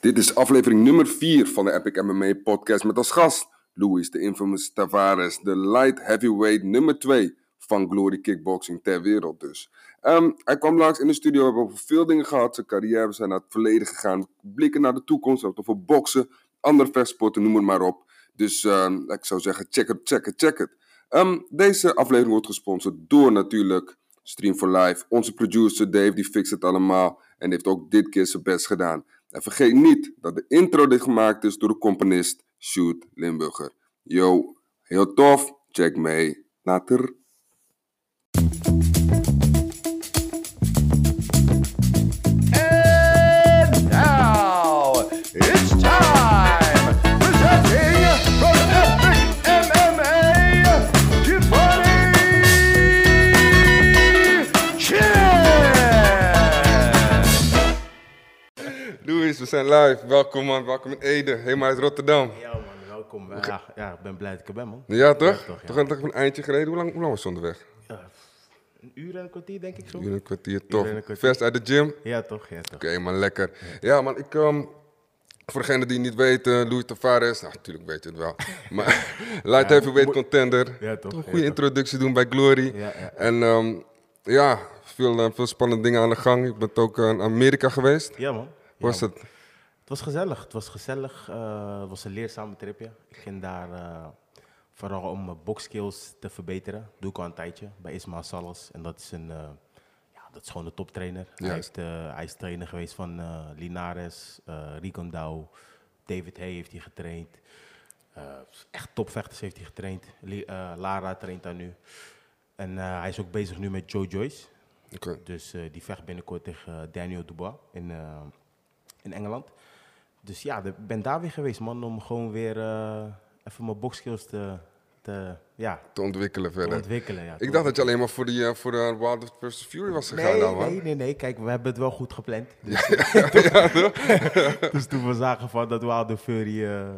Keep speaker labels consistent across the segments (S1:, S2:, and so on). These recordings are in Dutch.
S1: Dit is aflevering nummer 4 van de Epic MMA podcast met als gast Luis de Infamous Tavares, de light heavyweight nummer 2 van Glory Kickboxing ter wereld dus. Ehm, hij kwam langs in de studio, we hebben over veel dingen gehad, zijn carrière, we zijn naar het verleden gegaan, blikken naar de toekomst, we hebben het over boksen, andere vechtsporten, noem het maar op. Dus ehm, ik zou zeggen, check het, check het, check het. Ehm, deze aflevering wordt gesponsord door natuurlijk Stream for Life. Onze producer Dave, die fixt het allemaal en heeft ook dit keer zijn best gedaan. En vergeet niet dat de intro dit gemaakt is door de componist Sjoerd Limburger. Yo, heel tof. Check mee. Later.
S2: And now it's time presenting from Epic MMA, Tiffany Chin.
S1: Louis, we zijn live. Welkom man, welkom in Ede, helemaal uit Rotterdam.
S3: Ja man, welkom. Ja, ja, ik ben blij dat ik er ben man.
S1: Ja toch?
S3: toch, ja.
S1: Toch heb ik een eindje gereden. Hoe lang, hoe lang was je onderweg?
S3: Ja, pff, een uur en een kwartier denk ik zo.
S1: Uur en een kwartier, toch?
S3: en een kwartier.
S1: Vers uit de gym.
S3: Ja toch, ja toch.
S1: Oké, man, lekker. Ja, man, ik. ehm, voor degenen die niet weten, Louis Tavares. Nou, natuurlijk weet je het wel. Maar light heavyweight contender.
S3: Ja, toch,
S1: Een
S3: ja,
S1: goede
S3: toch.
S1: introductie doen bij Glory.
S3: Ja, ja.
S1: En ehm, ja, veel, eh, veel spannende dingen aan de gang. Je bent ook eh, in Amerika geweest.
S3: Ja man.
S1: Hoe was
S3: Ja, man.
S1: het?
S3: Het was gezellig, het was gezellig. eh, het was een leerzame tripje. Ik ging daar eh, vooral om mijn boxskills te verbeteren. Doe ik al een tijdje bij Ismael Salas. En dat is een, eh, ja, dat is gewoon een toptrainer. Hij,
S1: Juist.
S3: heeft, eh, hij is trainer geweest van eh, Linares, eh Rigondeaux, David Hay heeft hij getraind. Eh, echt topvechters heeft hij getraind. Li- eh, Lara traint daar nu. En eh, hij is ook bezig nu met Joe Joyce.
S1: Oké.
S3: Dus eh, die vecht binnenkort tegen eh, Daniel Dubois in, eh, in Engeland. Dus ja, ik ben daar weer geweest, man, om gewoon weer eh, even mijn boxskills te, te, ja,
S1: Te ontwikkelen
S3: te
S1: verder.
S3: ontwikkelen. Ja,
S1: Ik dacht dat je alleen maar voor, die, eh, voor eh, Wild vs. Fury was gegaan,
S3: Nee,
S1: nou, man.
S3: nee, nee, nee. Kijk, we hebben het wel goed gepland. Dus, dus toen we zagen van dat Wild and Fury eh, eh,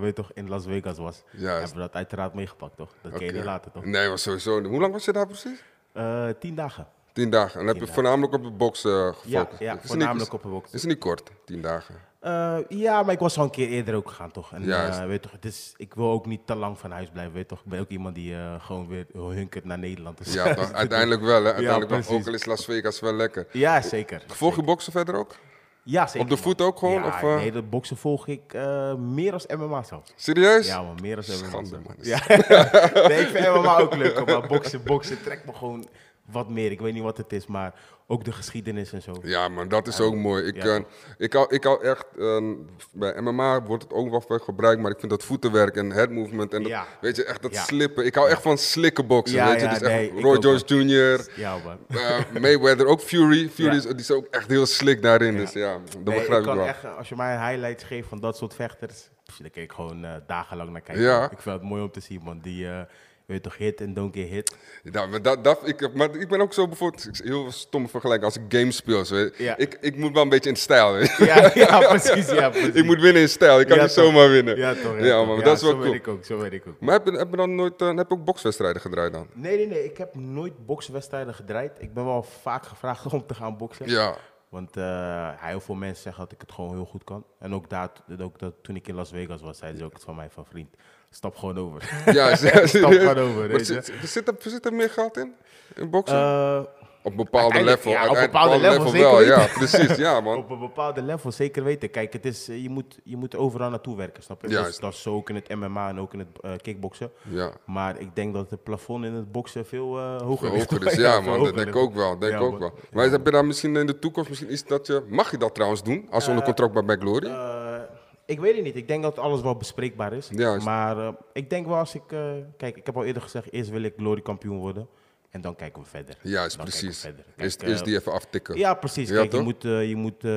S3: weet toch, in Las Vegas was,
S1: Juist.
S3: hebben we dat uiteraard meegepakt, toch? Dat kun je
S1: Oké. Mm.
S3: niet laten, toch?
S1: Nee, maar sowieso. niet. Hoe lang was je daar precies?
S3: Eh, tien dagen.
S1: Tien dagen. En heb je voornamelijk op de box eh, gefocust?
S3: Ja,
S1: Is
S3: ja
S1: het niet-
S3: voornamelijk op een box.
S1: Is het niet kort, tien dagen?
S3: Eh, ja, maar ik was al een keer eerder ook gegaan, toch? En
S1: Juist.
S3: eh, weet toch, het is, ik wil ook niet te lang van huis blijven, weet toch? Ik ben ook iemand die eh, gewoon weer hunkert naar Nederland. Dus
S1: Ja, toch? uiteindelijk wel. Hè? Uiteindelijk wel.
S3: precies.
S1: Ook al is Las Vegas wel lekker.
S3: ja, zeker.
S1: Volg je boksen verder ook?
S3: Ja, zeker.
S1: Op de
S3: man.
S1: voet ook gewoon,
S3: Ja,
S1: of, eh?
S3: Nee, dat boksen volg ik eh, meer als MMA zelfs.
S1: Serieus?
S3: Ja, man, meer als MMA.
S1: Schande,
S3: zelfs.
S1: man.
S3: Ja. nee, ik vind MMA ook leuk, hoor, maar boksen, boksen trekt me gewoon wat meer. Ik weet niet wat het is, maar ook de geschiedenis en zo.
S1: Ja, maar dat is ook mooi. Ik,
S3: Ja,
S1: eh, ik, hou, ik hou echt... eh, bij MMA wordt het ook wel veel gebruikt, maar ik vind dat voetenwerk en head movement en dat,
S3: Ja.
S1: weet je, echt dat
S3: Ja.
S1: slippen. Ik hou echt van slikken boksen,
S3: Ja,
S1: weet je.
S3: ja,
S1: dus echt
S3: nee, ik
S1: Roy
S3: ook,
S1: Jones Jr.,
S3: Ja, man.
S1: eh, Mayweather, ook Fury. Fury
S3: Ja.
S1: is, die is ook echt heel slik daarin. Dus ja, dat
S3: Nee,
S1: begrijp ik
S3: ik kan
S1: wel.
S3: echt, eh, als je mij een highlights geeft van dat soort vechters, pff, daar kan ik gewoon eh, dagenlang naar kijken.
S1: Ja.
S3: Ik vind het mooi om te zien, man. Die, eh, je weet toch, hit en don't get hit.
S1: Ja, maar, dat, dat, ik, maar ik ben ook zo bijvoorbeeld, ik- heel stom vergelijking als ik games speel. Zo, weet je.
S3: Ja.
S1: ik, ik moet wel een beetje in stijl. weet je.
S3: Ja, ja, precies, ja, precies.
S1: Ik moet winnen in stijl, ik kan
S3: Ja,
S1: niet
S3: toch.
S1: zomaar winnen.
S3: Ja, toch.
S1: Ja,
S3: toch.
S1: maar dat is wel
S3: zo
S1: cool.
S3: Weet ik ook, zo weet ik ook.
S1: Maar heb je, heb je dan nooit, eh, heb je ook bokswedstrijden gedraaid dan?
S3: Nee, nee, nee. Ik heb nooit bokswedstrijden gedraaid. Ik ben wel vaak gevraagd om te gaan boksen.
S1: Ja,
S3: Want eh, heel veel mensen zeggen dat ik het gewoon heel goed kan. En ook, daar, ook dat, toen ik in Las Vegas was, zeiden ze ook het van mij van vriend. Stap gewoon over.
S1: ja, ja
S3: Stap
S1: serieus.
S3: gewoon over,
S1: Maar
S3: weet je.
S1: zit, zit, er, zit er meer geld in, in boksen?
S3: Eh,
S1: op bepaalde
S3: uiteindelijk-
S1: level.
S3: ja, op
S1: uiteindelijk
S3: bepaalde level,
S1: wel,
S3: zeker
S1: ja, precies. Ja, man.
S3: Op een bepaalde level, zeker weten. Kijk, het is, eh, je, moet, je moet overal naartoe werken, snap je? Dat is,
S1: Juist.
S3: dat is zo ook in het MMA en ook in het eh, kickboksen.
S1: Ja.
S3: Maar ik denk dat het plafond in het boksen veel eh, hoger ligt.
S1: Hoger is, ja, man,
S3: veel
S1: dat denk ik
S3: hoger
S1: ook
S3: ligt.
S1: wel. Denk
S3: Ja,
S1: ik ook
S3: man.
S1: wel. Maar heb je daar misschien in de toekomst misschien iets dat je. Mag je dat trouwens doen? Als je onder contract bij Glory?
S3: Eh, ik weet het niet. Ik denk dat alles wel bespreekbaar is.
S1: Juist.
S3: Maar eh, ik denk wel als ik... eh, kijk, ik heb al eerder gezegd, eerst wil ik glory kampioen worden. En dan kijken we verder.
S1: Juist,
S3: Dan kijken we
S1: precies.
S3: verder. nou, Kijk,
S1: Eerst,
S3: eh,
S1: eerst die even aftikken.
S3: Ja, precies.
S1: Ja,
S3: Kijk, je
S1: toch?
S3: moet, eh, je, moet, eh,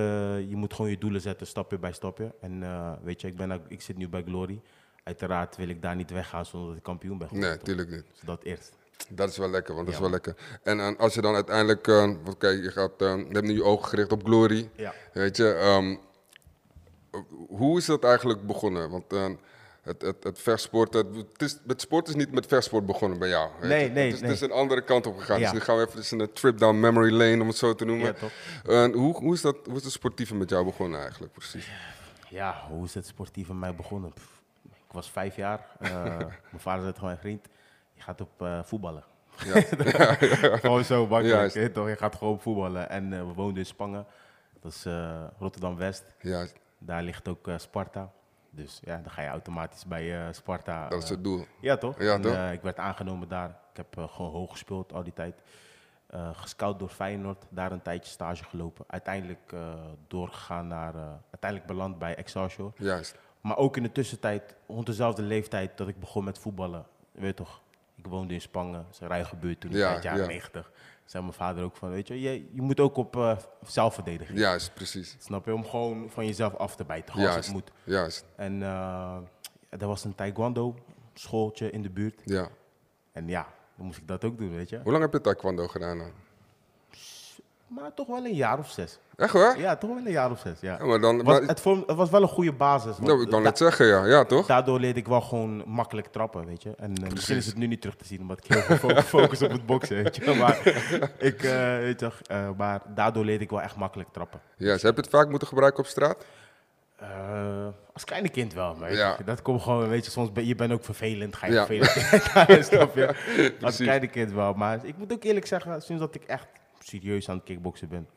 S3: je moet gewoon je doelen zetten, stapje bij stapje. En eh, weet je, ik, ben, ook- ik zit nu bij Glory. Uiteraard wil ik daar niet weggaan zonder dat ik kampioen ben. geworden,
S1: Nee,
S3: toch?
S1: tuurlijk niet.
S3: Dus dat eerst.
S1: Dat is wel lekker, want dat
S3: Ja,
S1: is wel lekker. En, eh, als je dan uiteindelijk, eh, want kijk, je, gaat, eh, je hebt nu je ogen gericht op Glory.
S3: Ja.
S1: Weet je, ehm, hoe is dat eigenlijk begonnen? Want eh, het, het, het vechtsport, het, het is, het sport is niet met vechtsport begonnen bij jou. weet
S3: Nee,
S1: je.
S3: nee,
S1: het, is, het
S3: nee.
S1: is een andere kant op gegaan.
S3: Ja.
S1: Dus nu gaan we even dus een trip down memory lane, om het zo te noemen.
S3: Ja, toch.
S1: En hoe, hoe, is dat, hoe is het sportieve met jou begonnen eigenlijk precies?
S3: ja, hoe is het sportief in mij begonnen? Pff, ik was vijf jaar. eh, mijn vader zei gewoon, vriend, je gaat op eh, voetballen. gewoon zo makkelijk.
S1: Juist.
S3: hè, toch? Je gaat gewoon voetballen. En eh, we woonden in Spangen. Dat is eh, Rotterdam-West.
S1: Ja,
S3: Daar ligt ook eh, Sparta. Dus ja, dan ga je automatisch bij eh, Sparta.
S1: dat is
S3: eh,
S1: het doel.
S3: ja, toch?
S1: Ja,
S3: En,
S1: toch?
S3: eh, ik werd aangenomen daar. Ik heb eh, gewoon hoog gespeeld al die tijd. Eh gescout door Feyenoord, daar een tijdje stage gelopen. Uiteindelijk eh, doorgegaan naar, eh, uiteindelijk beland bij Excelsior.
S1: Juist.
S3: Maar ook in de tussentijd, rond dezelfde leeftijd dat ik begon met voetballen. Je Weet toch, ik woonde in Spangen, dat is een ruige buurt toen,
S1: Ja,
S3: in het jaar
S1: ja.
S3: 90. Zei mijn vader ook van, weet je, je, je moet ook op eh, zelfverdediging.
S1: Juist, precies.
S3: Snap je? Om gewoon van jezelf af te bijten, gewoon als
S1: Juist.
S3: het moet.
S1: Juist.
S3: En eh, er was een taekwondo schooltje in de buurt.
S1: Ja.
S3: En ja, dan moest ik dat ook doen, weet je.
S1: Hoe lang heb je taekwondo gedaan dan?
S3: Maar toch wel een jaar of zes.
S1: Echt hoor?
S3: Ja, toch wel een jaar of zes, ja.
S1: Ja, maar dan...
S3: Was-
S1: Maar,
S3: het, vorm- het was wel een goede basis. want
S1: nou, ik kan
S3: da-
S1: net zeggen, ja. Ja, toch?
S3: daardoor leerde ik wel gewoon makkelijk trappen, weet je. En eh, misschien is het nu niet terug te zien, omdat ik heel veel fo- focus op het boksen, weet je. Maar, ik, eh, weet je, toch, eh, maar daardoor leerde ik wel echt makkelijk trappen.
S1: Juist. Heb je het vaak moeten gebruiken op straat?
S3: Eh, als kleine kind wel, maar weet
S1: Ja.
S3: je, dat komt gewoon, weet je, soms ben je bent ook vervelend, ga je
S1: Ja.
S3: vervelend. Snap je? Als
S1: Precies.
S3: kleine kind wel, maar ik moet ook eerlijk zeggen, sinds dat ik echt serieus aan het kickboksen ben,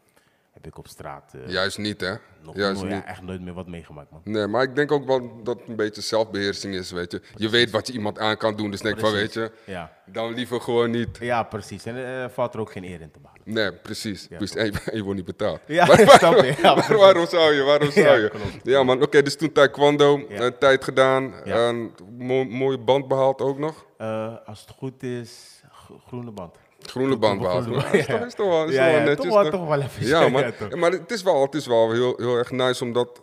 S3: heb ik op straat eh,
S1: Juist niet, hè?
S3: nog
S1: Juist
S3: nooit- ja,
S1: niet.
S3: echt nooit meer wat meegemaakt, man.
S1: Nee, maar ik denk ook wel dat het een beetje zelfbeheersing is, weet je. Je weet wat je iemand aan kan doen, dus denk ik van, weet
S3: Precies.
S1: je,
S3: Ja,
S1: dan liever gewoon niet.
S3: ja precies. En eh, valt er ook geen eer in te behalen.
S1: Nee, precies. Dus, en, je- en je wordt niet betaald.
S3: Ja,
S1: Maar-
S3: snap je? Ja,
S1: Maar waarom zou je? Waarom zou
S3: Ja,
S1: je?
S3: klopt.
S1: Ja, man. Oké, dus toen taekwondo,
S3: Ja.
S1: eh, tijd gedaan.
S3: Ja.
S1: een mo- mooie band behaald ook nog.
S3: Eh, als het goed is, gro- groene band.
S1: Groene band behaald.
S3: Groene
S1: Maar
S3: band,
S1: is toch-
S3: ja.
S1: is toch wel is
S3: Ja,
S1: toch wel
S3: ja,
S1: netjes.
S3: toch wel-
S1: toch?
S3: toch wel even
S1: Ja,
S3: zeggen,
S1: maar,
S3: ja, toch.
S1: ja, maar het is wel, het is wel heel, heel erg nice om dat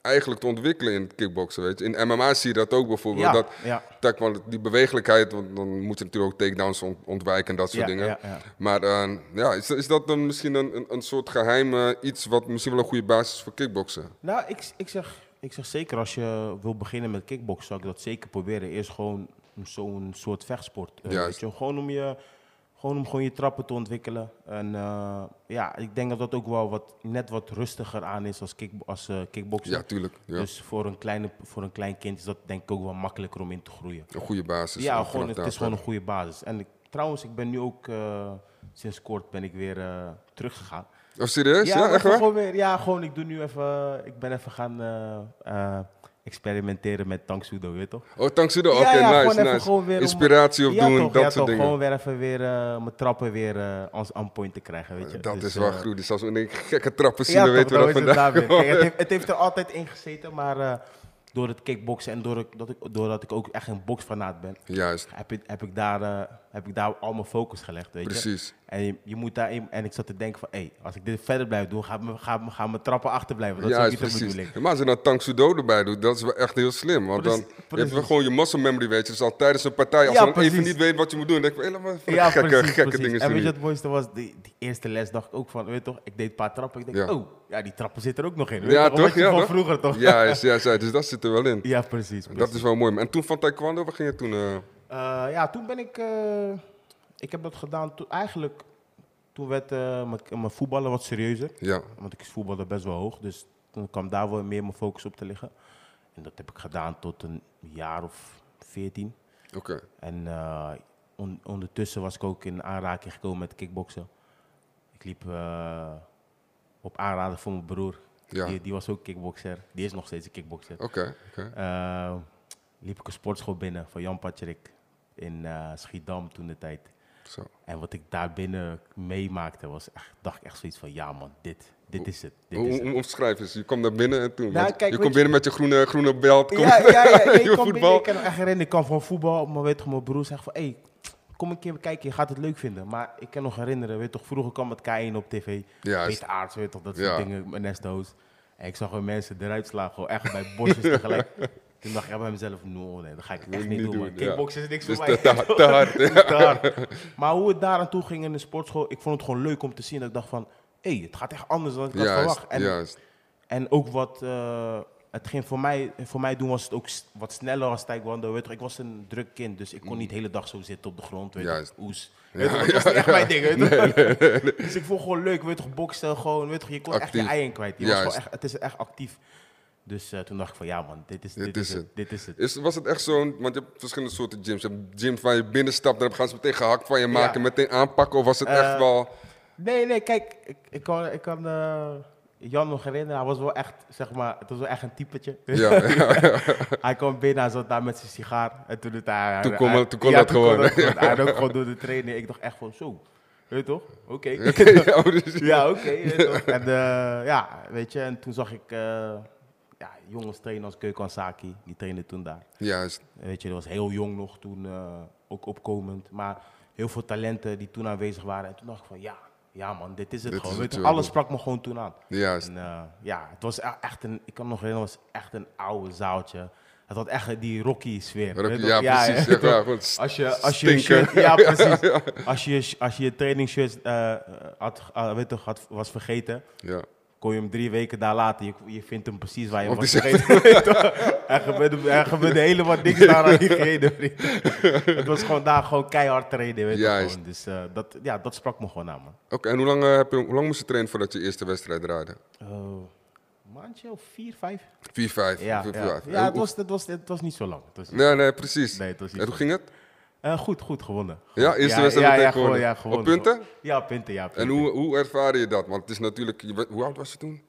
S1: eigenlijk te ontwikkelen in het kickboksen, weet je. In MMA zie je dat ook bijvoorbeeld.
S3: Ja,
S1: dat,
S3: ja.
S1: taekwondo- die bewegelijkheid, want dan moet je natuurlijk ook takedowns ont- ontwijken en dat soort
S3: Ja,
S1: dingen.
S3: ja, ja.
S1: Maar eh, ja, is, is dat dan misschien een, een, een soort geheim eh, iets wat misschien wel een goede basis is voor kickboksen?
S3: Nou, ik, ik, zeg, ik zeg zeker als je wil beginnen met kickboksen, zou ik dat zeker proberen. Eerst gewoon zo'n soort vechtsport. eh,
S1: Juist.
S3: weet je, wel. gewoon om je, gewoon om gewoon je trappen te ontwikkelen. En eh, ja, ik denk dat dat ook wel wat, net wat rustiger aan is als, kick, als eh, kickboksen.
S1: Ja, tuurlijk. Ja.
S3: Dus voor een, kleine, voor een klein kind is dat denk ik ook wel makkelijker om in te groeien.
S1: Een goede basis.
S3: ja,
S1: om
S3: gewoon,
S1: vanaf
S3: het
S1: daar
S3: is
S1: te
S3: gewoon een goede basis. En ik, trouwens, ik ben nu ook eh, sinds kort ben ik weer eh, teruggegaan.
S1: starten. Oh, serieus? Ja,
S3: Ja, maar
S1: echt waar?
S3: gewoon weer. Ja, gewoon, ik doe nu even, ik ben even gaan eh, eh, experimenteren met Tangsudo, weet je toch?
S1: Oh, dankzij de. Oké,
S3: ja, ja,
S1: nice,
S3: gewoon even
S1: nice.
S3: gewoon weer om-
S1: Inspiratie
S3: ja,
S1: opdoen,
S3: toch,
S1: dat
S3: ja,
S1: soort
S3: toch,
S1: dingen.
S3: Gewoon weer even weer eh, mijn trappen weer eh ons on point te krijgen, weet je.
S1: Dat
S3: Dus,
S1: is wel
S3: eh,
S1: goed. Dus als we een gekke trappen zien,
S3: Ja,
S1: dan
S3: toch,
S1: weten
S3: dan
S1: we dat
S3: is het daar
S1: vandaag.
S3: weer. Kijk, het, heeft, het heeft er altijd in gezeten, maar eh, door het kickboksen en door ik- dat ik, doordat ik ook echt een boksfanaat ben,
S1: Juist,
S3: heb, ik- heb, ik daar, eh, heb ik daar al mijn focus gelegd, weet je.
S1: precies.
S3: En je, je moet daarin, en ik zat te denken van, hé, als ik dit verder blijf doen, gaan mijn ga, ga mijn trappen achterblijven. Dat is ook
S1: Juist,
S3: niet de
S1: precies.
S3: bedoeling.
S1: Maar als nou je dan Tang Sudo erbij doet, dat is wel echt heel slim. Want dan
S3: Precies,
S1: heb je
S3: precies.
S1: gewoon je muscle memory, weet je. Dus al tijdens een partij, als
S3: Ja,
S1: je dan even
S3: precies.
S1: niet weet wat je moet doen, dan denk je van, hé, laat maar even gekke, gekke dingen
S3: En
S1: zien.
S3: weet je
S1: hier.
S3: wat het mooiste was? Die, die eerste les dacht ik ook van, weet je toch, ik deed een paar trappen. Ik denk,
S1: Ja.
S3: oh, ja, die trappen zitten er ook nog in. weet je
S1: Ja,
S3: Omdat
S1: toch?
S3: je
S1: Ja,
S3: van
S1: toch?
S3: vroeger toch?
S1: Ja, juist, juist, juist. dus dat zit er wel in.
S3: Ja, precies. precies.
S1: Dat is wel mooi. man. En toen van Taekwondo, waar ging je toen? eh,
S3: Eh, ja, toen ben ik, eh, ik heb dat gedaan, toen eigenlijk, toen werd eh, mijn- mijn voetballen wat serieuzer.
S1: ja,
S3: Want ik voetbalde best wel hoog. Dus toen kwam daar wel meer mijn focus op te liggen. En dat heb ik gedaan tot een jaar of veertien.
S1: oké.
S3: En eh, on- ondertussen was ik ook in aanraking gekomen met kickboksen. Ik liep eh, op aanraden van mijn broer.
S1: Ja.
S3: Die, die was ook kickbokser. Die is nog steeds een kickbokser.
S1: Oké, oké.
S3: Eh, liep ik een sportschool binnen van Jan Patrick in eh, Schiedam toen de tijd.
S1: Zo.
S3: En wat ik daar binnen meemaakte, was echt, dacht ik echt zoiets van, ja man, dit, dit is het. Dit
S1: Hoe
S3: is het.
S1: hoe- hoe omschrijf je ze? Je kwam daar binnen en toen.
S3: Nou,
S1: want
S3: kijk,
S1: je
S3: weet
S1: komt binnen met je groene, groene belt. kom-
S3: Ja, ja, ja. nee,
S1: je
S3: ik, kan binnen,
S1: voetbal.
S3: ik kan echt herinneren, ik kan van voetbal, maar weet toch, mijn broer zegt van, hé, hey, kom een keer kijken, je gaat het leuk vinden. Maar ik kan nog herinneren, weet toch, vroeger kwam het K1 op tv,
S1: Juist.
S3: Peter Aarts, weet toch, dat soort
S1: Ja.
S3: dingen, Ernesto's. En ik zag gewoon mensen eruit slaan, gewoon echt bij bosjes tegelijk. Toen dacht ik bij mezelf, no, nee, dat ga ik echt niet doen, man.
S1: ja.
S3: Kickboksen is niks
S1: Dus
S3: voor mij.
S1: te, te, te hard. hè?
S3: Te hard. Maar hoe het daar aan toe ging in de sportschool, ik vond het gewoon leuk om te zien. Dat ik dacht van, hé, het gaat echt anders dan ik had
S1: Juist,
S3: verwacht. En
S1: juist.
S3: en ook wat, eh, het ging voor mij, voor mij doen was het ook s- wat sneller als taekwondo. Weet je, ik was een druk kind, dus ik kon niet de hele dag zo zitten op de grond. Weet je,
S1: Juist.
S3: oes. Weet je, dat was niet echt mijn ding. Weet je. Dus ik vond gewoon leuk, weet je, boksen gewoon. Weet je, je kon echt
S1: Actief.
S3: je eieren kwijt. Je was
S1: Juist.
S3: gewoon echt, het is echt actief. Dus eh, toen dacht ik van ja man, dit is,
S1: Dit is het.
S3: Dit is het.
S1: Is, was het echt zo'n, want je hebt verschillende soorten gyms. Je hebt gyms waar je binnenstapt, dan gaan ze meteen gehakt van je maken, en meteen aanpakken. Of was het echt
S3: Eh,
S1: wel...
S3: Nee, nee, kijk, ik, ik kan, ik kan eh, Jan nog herinneren. Hij was wel echt, zeg maar, het was wel echt een typetje.
S1: Ja, ja, ja.
S3: hij kwam binnen, hij zat daar met zijn sigaar. En toen het daar...
S1: Toen kon
S3: hij-
S1: het- toen kon
S3: ja,
S1: dat gewoon,
S3: dat gewoon. Hij ook gewoon door de training. Ik dacht echt van, zo, weet je toch? Oké.
S1: ja, oh, dus-
S3: ja, oké. weet je toch? en eh, ja, weet je, en toen zag ik eh, ja, jongens trainen als Keukansaki. Die trainde toen daar.
S1: Juist.
S3: Weet je, dat was heel jong nog toen, eh, ook opkomend. Maar heel veel talenten die toen aanwezig waren. En toen dacht ik van, ja, ja man, dit is het
S1: Dit
S3: gewoon.
S1: is
S3: Weet
S1: het,
S3: je,
S1: ja.
S3: alles sprak me gewoon toen aan.
S1: Juist.
S3: En eh, ja, het was e- echt een, ik kan me nog herinneren, het was echt een oude zaaltje. Het had echt die Rocky-sfeer.
S1: Rocky,
S3: weet je
S1: ja,
S3: toch?
S1: precies.
S3: weet je
S1: Ja,
S3: toch?
S1: gewoon st-
S3: als je, als je een
S1: stinken.
S3: shirt, ja, precies. Als je, je- als je je trainingsshirt eh, had, eh, weet je toch, had, was vergeten,
S1: Ja.
S3: kon je hem drie weken daar later. Je, je vindt hem precies waar je hem
S1: Op
S3: was
S1: die
S3: vergeten. Weet je toch? er, gebeurde, er gebeurde helemaal niks daar aan diegene. vriend. Het was gewoon daar gewoon keihard trainen. Weet je
S1: Juist.
S3: gewoon. Dus eh, dat, ja, dat sprak me gewoon aan, man.
S1: Oké, en hoe lang, eh, heb je, hoe lang moest je trainen voordat je eerste wedstrijd draaide?
S3: Oh, maandje of vier, vijf?
S1: 4, 5?
S3: Ja, ja. ja het, was, het, was, het was niet zo lang. Het was niet-
S1: Nee, nee, precies.
S3: Nee, het was niet
S1: en hoe ging het?
S3: Eh, goed, goed, gewonnen.
S1: Ja, eerste wedstrijd
S3: ja,
S1: meteen
S3: ja, gewoon,
S1: gewonnen.
S3: ja,
S1: Op
S3: gewonnen.
S1: punten?
S3: Ja, punten, ja. Punten.
S1: En hoe, hoe ervaarde je dat? Want het is natuurlijk... je bent- hoe oud was je toen?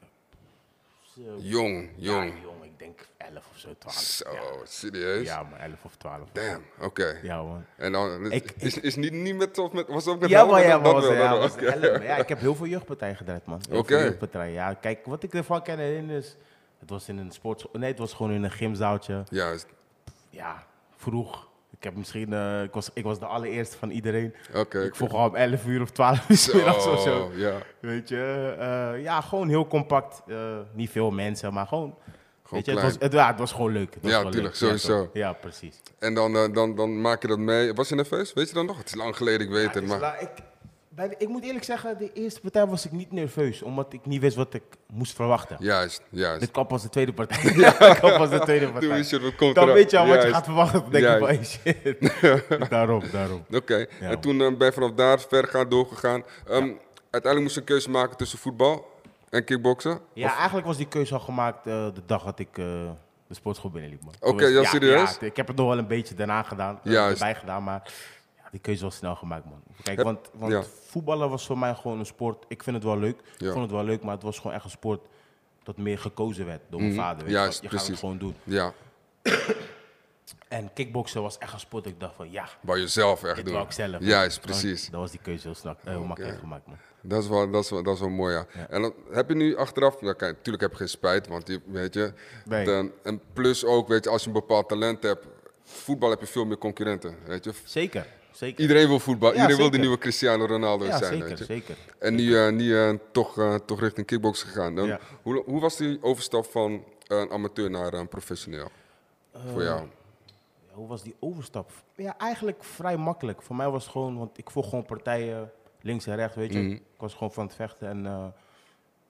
S1: Jong,
S3: Ja,
S1: jong.
S3: jong, ik denk 11 of zo, 12.
S1: Zo, serieus?
S3: Ja, maar 11 of 12.
S1: Damn, oké.
S3: Ja, man.
S1: En dan,
S3: Ik-
S1: is, is niet, niet met, of met, was het ook met
S3: Ja,
S1: helmen?
S3: maar ja,
S1: Dat-
S3: maar
S1: dat
S3: was,
S1: wel,
S3: ja,
S1: dat wel,
S3: was
S1: oké.
S3: helm. Ja, ik heb heel veel jeugdpartijen gedraaid, man. Heel
S1: Oké.
S3: veel jeugdpartijen, ja. Kijk, wat ik ervan kan herinneren is... Het was in een sportschool... Nee, het was gewoon in een gymzaaltje.
S1: Juist,
S3: Ja, vroeg. Ik heb misschien... eh, ik, was, ik was de allereerste van iedereen.
S1: Oké,
S3: Ik
S1: oké.
S3: vroeg al om 11 uur of 12 uur 's middags of zo.
S1: Zo, oh, ja.
S3: Weet je, eh, ja, gewoon heel compact. eh, niet veel mensen, maar gewoon... weet je, het
S1: klein.
S3: was, het, ja, het was gewoon leuk. Het was
S1: Ja,
S3: gewoon
S1: tuurlijk,
S3: leuk.
S1: sowieso.
S3: toch? Ja, precies.
S1: En dan, eh, dan, dan maak je dat mee. Was je nerveus? Weet je dan nog? Het is lang geleden, ik weet
S3: Ja,
S1: het,
S3: dus
S1: maar...
S3: la- ik, bij de- ik moet eerlijk zeggen, de eerste partij was ik niet nerveus, omdat ik niet wist wat ik moest verwachten.
S1: Juist, juist.
S3: Dit kan pas de tweede partij. Ja, dit kan pas de tweede partij.
S1: Doe eens, joh, dat komt
S3: Dan
S1: eraan.
S3: weet je al wat je
S1: Juist.
S3: gaat verwachten. Dan denk je van, hey,
S1: Juist.
S3: shit. daarom, daarom.
S1: Oké,
S3: Ja,
S1: en
S3: man.
S1: toen eh, ben je vanaf daar ver gaan doorgegaan. Ehm, Uiteindelijk moest je een keuze maken tussen voetbal en kickboksen.
S3: Ja, eigenlijk was die keuze al gemaakt eh, de dag dat ik eh, de sportschool binnenliep. man.
S1: Oké,
S3: Toen was-
S1: ja, serieus?
S3: Ja, ik heb het nog wel een beetje daarna gedaan, eh,
S1: Juist.
S3: erbij gedaan, maar ja, die keuze was snel gemaakt, man. Kijk,
S1: Heb-
S3: want, want
S1: ja.
S3: voetballen was voor mij gewoon een sport. Ik vind het wel leuk,
S1: Ja.
S3: ik vond het wel leuk, maar het was gewoon echt een sport dat meer gekozen werd door mijn vader. Weet je,
S1: Mhm. Juist,
S3: van, je gaat
S1: precies.
S3: het gewoon doen.
S1: Ja,
S3: En kickboksen was echt een sport dat ik dacht van, ja,
S1: wou je zelf echt
S3: dit
S1: doen.
S3: wou ik zelf.
S1: Juist,
S3: Dan-
S1: precies.
S3: Dan was die keuze heel, snak, eh, heel makkelijk gemaakt, man.
S1: Dat is wel, dat is wel, dat is wel mooi, ja. En dan heb je nu achteraf, nou, kijk, natuurlijk heb je geen spijt, want je, weet je.
S3: Nee.
S1: Dan, en plus ook, weet je, als je een bepaald talent hebt, voetbal heb je veel meer concurrenten, weet je.
S3: Zeker, zeker.
S1: Iedereen wil voetbal, iedereen wil de
S3: zeker.
S1: nieuwe Cristiano Ronaldo
S3: ja,
S1: zijn,
S3: zeker,
S1: weet je.
S3: zeker.
S1: En nu, eh, nu eh, toch, eh, toch richting kickbox gegaan. Dan,
S3: Ja.
S1: hoe, hoe was die overstap van eh, een amateur naar een professioneel? Voor jou?
S3: Ja, Eh, Hoe was die overstap? Ja, eigenlijk vrij makkelijk. Voor mij was het gewoon, want ik volg gewoon partijen links en rechts, weet
S1: Mm.
S3: je. Ik was gewoon van het vechten en eh,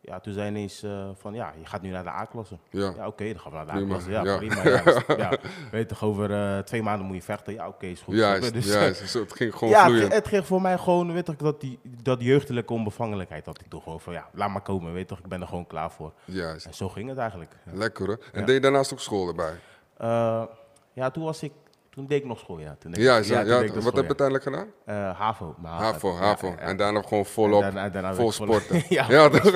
S3: ja, toen zei ineens eh, van ja, je gaat nu naar de A-klasse.
S1: Ja.
S3: oké, dan gaan we naar de
S1: Prima,
S3: A-klasse. Ja,
S1: ja.
S3: prima. Ja, dus- ja. Weet toch, over eh, twee maanden moet je vechten. Ja, oké, is goed.
S1: Juist,
S3: Dus,
S1: juist. Zo, het ging gewoon
S3: ja,
S1: vloeien.
S3: het, het ging voor mij gewoon, weet toch, dat, die, dat jeugdelijke onbevangenlijkheid had ik toch gewoon van ja, laat maar komen, weet toch, ik ben er gewoon klaar voor.
S1: Juist.
S3: En zo ging het eigenlijk.
S1: Lekker hoor. En deed je daarnaast ook school erbij?
S3: Eh, ja, toen was ik, toen deed ik nog school, ja. Toen deed ik-
S1: Ja, ja,
S3: toen
S1: ja,
S3: deed ik nog
S1: wat
S3: school,
S1: heb je uiteindelijk gedaan?
S3: eh HAVO. maar
S1: HAVO,
S3: ja,
S1: HAVO.
S3: ja,
S1: En daarna gewoon volop,
S3: En daarna- daarna
S1: vol
S3: werd volop-
S1: sporten.
S3: Ja,
S1: dat-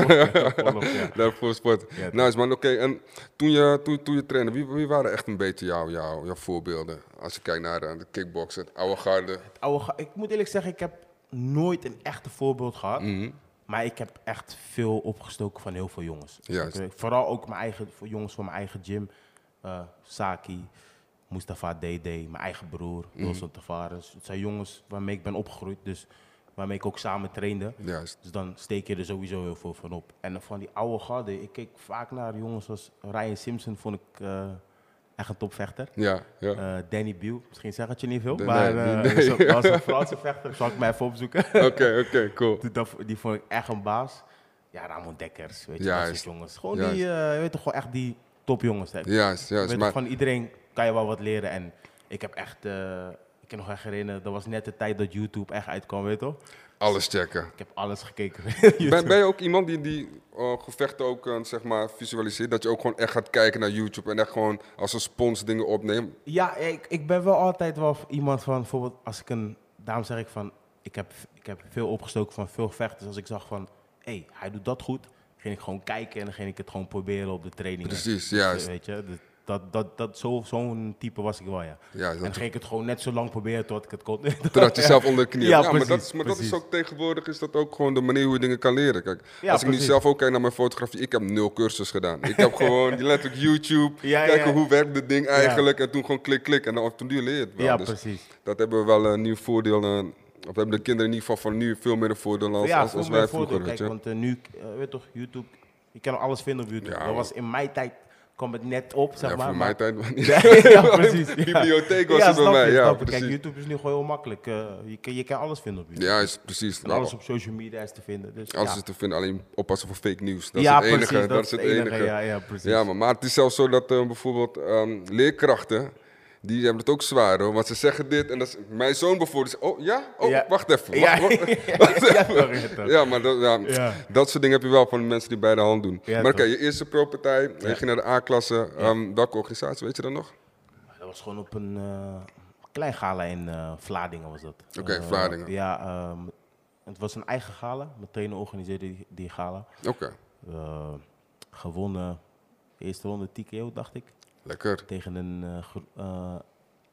S3: volop, ja.
S1: daar vol sporten.
S3: Ja,
S1: nice man, oké. En toen je, toen, toen je trainde, wie, wie waren echt een beetje jouw jou, jou voorbeelden? Als je kijkt naar eh, de kickboksen, oude garde.
S3: Het oude ge- ik moet eerlijk zeggen, ik heb nooit een echte voorbeeld gehad.
S1: Mhm.
S3: Maar ik heb echt veel opgestoken van heel veel jongens.
S1: Juist.
S3: Ik- Vooral ook mijn eigen, voor jongens van mijn eigen gym. eh, Saki, Mustafa DD, mijn eigen broer,
S1: Mhm.
S3: Wilson Tavares. Het zijn jongens waarmee ik ben opgegroeid, dus waarmee ik ook samen trainde.
S1: Juist.
S3: Dus dan steek je er sowieso heel veel van op. En van die oude garde, ik keek vaak naar jongens als Ryan Simpson, vond ik eh, echt een topvechter.
S1: Ja, ja.
S3: Eh, Danny Biel, misschien zegt het je niet veel,
S1: Nee,
S3: maar
S1: nee,
S3: eh,
S1: nee.
S3: was een- was een Franse vechter, zal ik mij even opzoeken.
S1: Oké, oké, cool.
S3: Die- dat- die vond ik echt een baas. Ja, Ramon Dekkers, weet je, dat
S1: Juist.
S3: soort jongens. Gewoon
S1: Juist.
S3: die, eh, je weet toch, gewoon echt die topjongens. hè.
S1: Juist,
S3: Weet
S1: juist.
S3: toch,
S1: Maar,
S3: Van iedereen kan je wel wat leren en ik heb echt, eh, ik kan nog echt herinneren, dat was net de tijd dat YouTube echt uitkwam, weet je toch?
S1: Alles checken.
S3: Ik heb alles gekeken.
S1: Ben, ben je ook iemand die, die eh, gevechten ook eh, zeg maar, visualiseert? Dat je ook gewoon echt gaat kijken naar YouTube en echt gewoon als een spons dingen opneemt?
S3: Ja, ik, ik ben wel altijd wel iemand van, bijvoorbeeld als ik een, daarom zeg ik van, ik heb, ik heb veel opgestoken van veel vechters. Als ik zag van, hé, hey, hij doet dat goed, ging ik gewoon kijken en dan ging ik het gewoon proberen op de training.
S1: Precies, juist.
S3: Weet je, dus dat, dat, dat, zo, zo'n type was ik wel, ja.
S1: Ja,
S3: en
S1: dat-
S3: dan ging ik het gewoon net zo lang proberen tot ik het kon.
S1: Totdat je zelf onder de knie
S3: Ja,
S1: hebt. maar,
S3: precies,
S1: dat is, maar dat is
S3: precies.
S1: ook tegenwoordig is dat ook gewoon de manier hoe je dingen kan leren. Kijk,
S3: Ja,
S1: als ik nu
S3: precies.
S1: zelf ook kijk naar mijn fotografie, ik heb nul cursus gedaan. Ik heb gewoon letterlijk YouTube,
S3: Ja,
S1: kijken
S3: ja.
S1: hoe werkt dit ding eigenlijk en toen gewoon klik, klik. En dan, toen duur leer je het wel.
S3: Ja,
S1: Dus
S3: precies.
S1: Dat hebben we wel een nieuw voordeel. eh, of hebben de kinderen in ieder geval van nu veel meer een voordeel als, als,
S3: veel
S1: als
S3: meer
S1: wij
S3: voordeel.
S1: vroeger. Weet
S3: Kijk,
S1: je?
S3: want eh, nu, eh, weet toch, YouTube, je kan alles vinden op YouTube.
S1: Ja,
S3: dat
S1: man.
S3: was in mijn tijd, kwam het net op, zeg
S1: Ja,
S3: maar.
S1: voor
S3: maar-
S1: mijn tijd was niet.
S3: Ja, ja, precies. ja.
S1: Bibliotheek was
S3: ja,
S1: het bij
S3: snap
S1: mij,
S3: je,
S1: ja,
S3: snap je. Kijk,
S1: precies.
S3: YouTube is nu gewoon heel makkelijk. eh, je, kan, je kan alles vinden op YouTube.
S1: Ja, is precies. Nou,
S3: En alles op social media is te vinden. Dus,
S1: Alles
S3: ja.
S1: is te vinden, alleen oppassen voor fake nieuws. Dat is
S3: Ja,
S1: het enige.
S3: precies,
S1: dat is het enige.
S3: Ja, ja, precies.
S1: Ja, maar, maar het is zelfs zo dat eh, bijvoorbeeld ehm, leerkrachten, die hebben het ook zwaar hoor. Want ze zeggen dit en dat is, mijn zoon bijvoorbeeld zegt, oh ja? Oh,
S3: Ja.
S1: wacht even.
S3: Ja,
S1: Wacht, wacht,
S3: ja,
S1: wacht
S3: ja,
S1: even.
S3: toch, ja, toch.
S1: Ja, maar dat, ja,
S3: Ja.
S1: dat soort dingen heb je wel van mensen die bij de hand doen.
S3: Ja,
S1: maar oké,
S3: toch.
S1: je eerste pro-partij, je ging naar de A-klasse. Ehm, welke organisatie, weet je dat nog?
S3: Dat was gewoon op een eh, klein gala in eh, Vlaardingen was dat.
S1: Oké,
S3: Eh,
S1: Vlaardingen.
S3: Ja, ehm, het was een eigen gala. Mijn trainer organiseerde die, die gala.
S1: Oké,
S3: Eh, gewonnen, eerste ronde TKO dacht ik.
S1: lekker.
S3: tegen een, eh, gro- eh,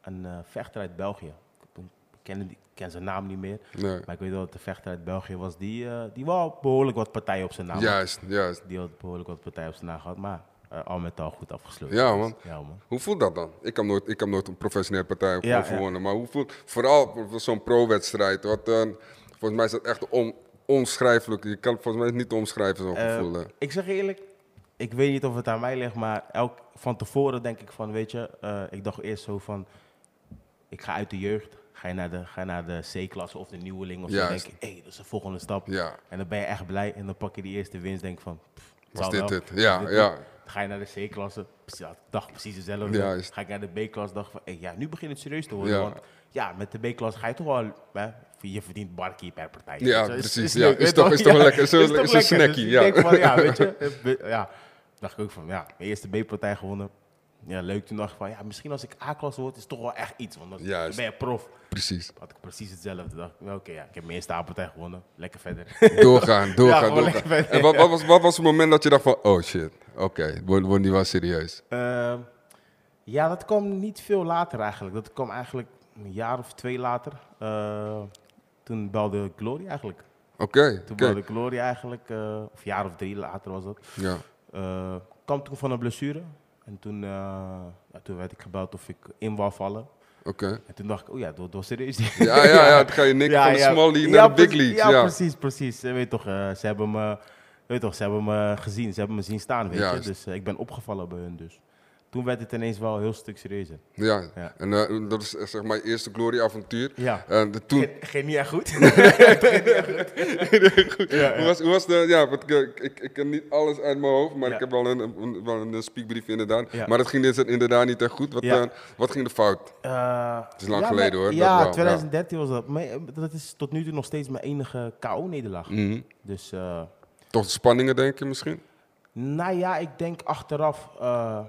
S3: een eh, vechter uit België. Ik ken, die- ik ken zijn naam niet meer.
S1: Nee.
S3: Maar ik weet wel dat de vechter uit België was die, eh, die wel behoorlijk wat partijen op zijn naam had.
S1: Juist, juist.
S3: Die had behoorlijk wat partijen op zijn naam gehad, maar eh, al met al goed afgesloten.
S1: Ja,
S3: Dus,
S1: man.
S3: Ja, man.
S1: Hoe voelt dat dan? Ik heb nooit, ik heb nooit een professionele partij
S3: Ja,
S1: overwonnen. Maar hoe voelt, vooral voor zo'n pro-wedstrijd. Wat, eh, volgens mij is dat echt on, onschrijfelijk. Je kan het volgens mij niet omschrijven, zo'n
S3: Eh,
S1: gevoel. hè.
S3: ik zeg je eerlijk, ik weet niet of het aan mij ligt, maar elk, van tevoren denk ik van, weet je, eh, ik dacht eerst zo van, ik ga uit de jeugd, ga je naar de, ga je naar de C-klasse of de nieuweling of zo, denk
S1: Juist.
S3: ik, hé, dat is de volgende stap.
S1: Ja.
S3: En dan ben je echt blij en dan pak je die eerste winst, denk ik van, pff, het
S1: Was
S3: zal
S1: dit
S3: wel.
S1: het? Ja,
S3: Dit-
S1: ja.
S3: Dan ga je naar de C-klasse, precies- ja, dacht precies hetzelfde.
S1: Juist.
S3: Ga ik naar de B-klasse, dacht van, hé, ja, nu begint het serieus te worden,
S1: Ja.
S3: want ja, met de B-klasse ga je toch wel, hè, je verdient barkeep per partij.
S1: Ja,
S3: Weet je,
S1: precies, ja.
S3: leuk,
S1: Is
S3: weet
S1: toch-
S3: wel.
S1: is toch
S3: Ja,
S1: lekker, is een- is
S3: toch
S1: een
S3: lekker.
S1: snackie,
S3: Dus
S1: ja.
S3: ik denk van, ja, weet je. eh, be- Ja, dacht ik ook van, ja, mijn eerste B-partij gewonnen. Ja, leuk. Toen dacht ik van, ja, misschien als ik A-klasse word, is het toch wel echt iets. Want dan dan
S1: Juist.
S3: ben je prof.
S1: Precies.
S3: Had ik precies hetzelfde. Toen dacht ik, nou, oké, ja, ik heb mijn eerste A-partij gewonnen. Lekker verder.
S1: Doorgaan, doorgaan,
S3: gewoon
S1: doorgaan.
S3: lekker
S1: En wat, wat, was, wat was het moment dat je dacht van, oh shit, oké, wordt word niet wel serieus.
S3: Ehm, ja, dat kwam niet veel later eigenlijk. Dat kwam eigenlijk een jaar of twee later. Eh, toen belde Glory eigenlijk.
S1: Oké,
S3: Toen
S1: oké.
S3: belde Glory eigenlijk, eh, of een jaar of drie later was dat.
S1: Ja,
S3: Eh, kwam toen van een blessure. En toen, eh, ja, toen werd ik gebeld of ik in wou vallen.
S1: oké.
S3: En toen dacht ik, oh ja, dat was serieus.
S1: Ja, ja, ja, dan ga je niks van de small league naar de big
S3: precies,
S1: league.
S3: Ja,
S1: Ja,
S3: precies, precies. Je Weet toch, eh, ze hebben me, je weet toch, ze hebben me gezien, ze hebben me zien staan, weet
S1: Juist.
S3: je. Dus eh, ik ben opgevallen bij hun dus. Toen werd het ineens wel een heel stuk serieuzer.
S1: ja.
S3: Ja.
S1: En eh, dat is eh, zeg maar je eerste glory-avontuur.
S3: Ja.
S1: En de- toen,
S3: Geen niet echt goed. Eh,
S1: Hoe was, hoe was de, ja, want ik, ik, ik ken niet alles uit mijn hoofd, maar
S3: Ja.
S1: ik heb wel een, een, wel een speakbrief inderdaad.
S3: Ja.
S1: Maar dat ging dus inderdaad niet echt goed. Wat,
S3: Ja.
S1: eh, wat ging de fout?
S3: het
S1: is lang geleden, hoor, dat wel,
S3: Ja,
S1: ja.
S3: 2013 was dat. Maar eh, dat is tot nu toe nog steeds mijn enige KO-nederlaag.
S1: Mhm.
S3: Dus... eh,
S1: Toch de spanningen, denk je misschien?
S3: Nou ja, ik denk achteraf. eh,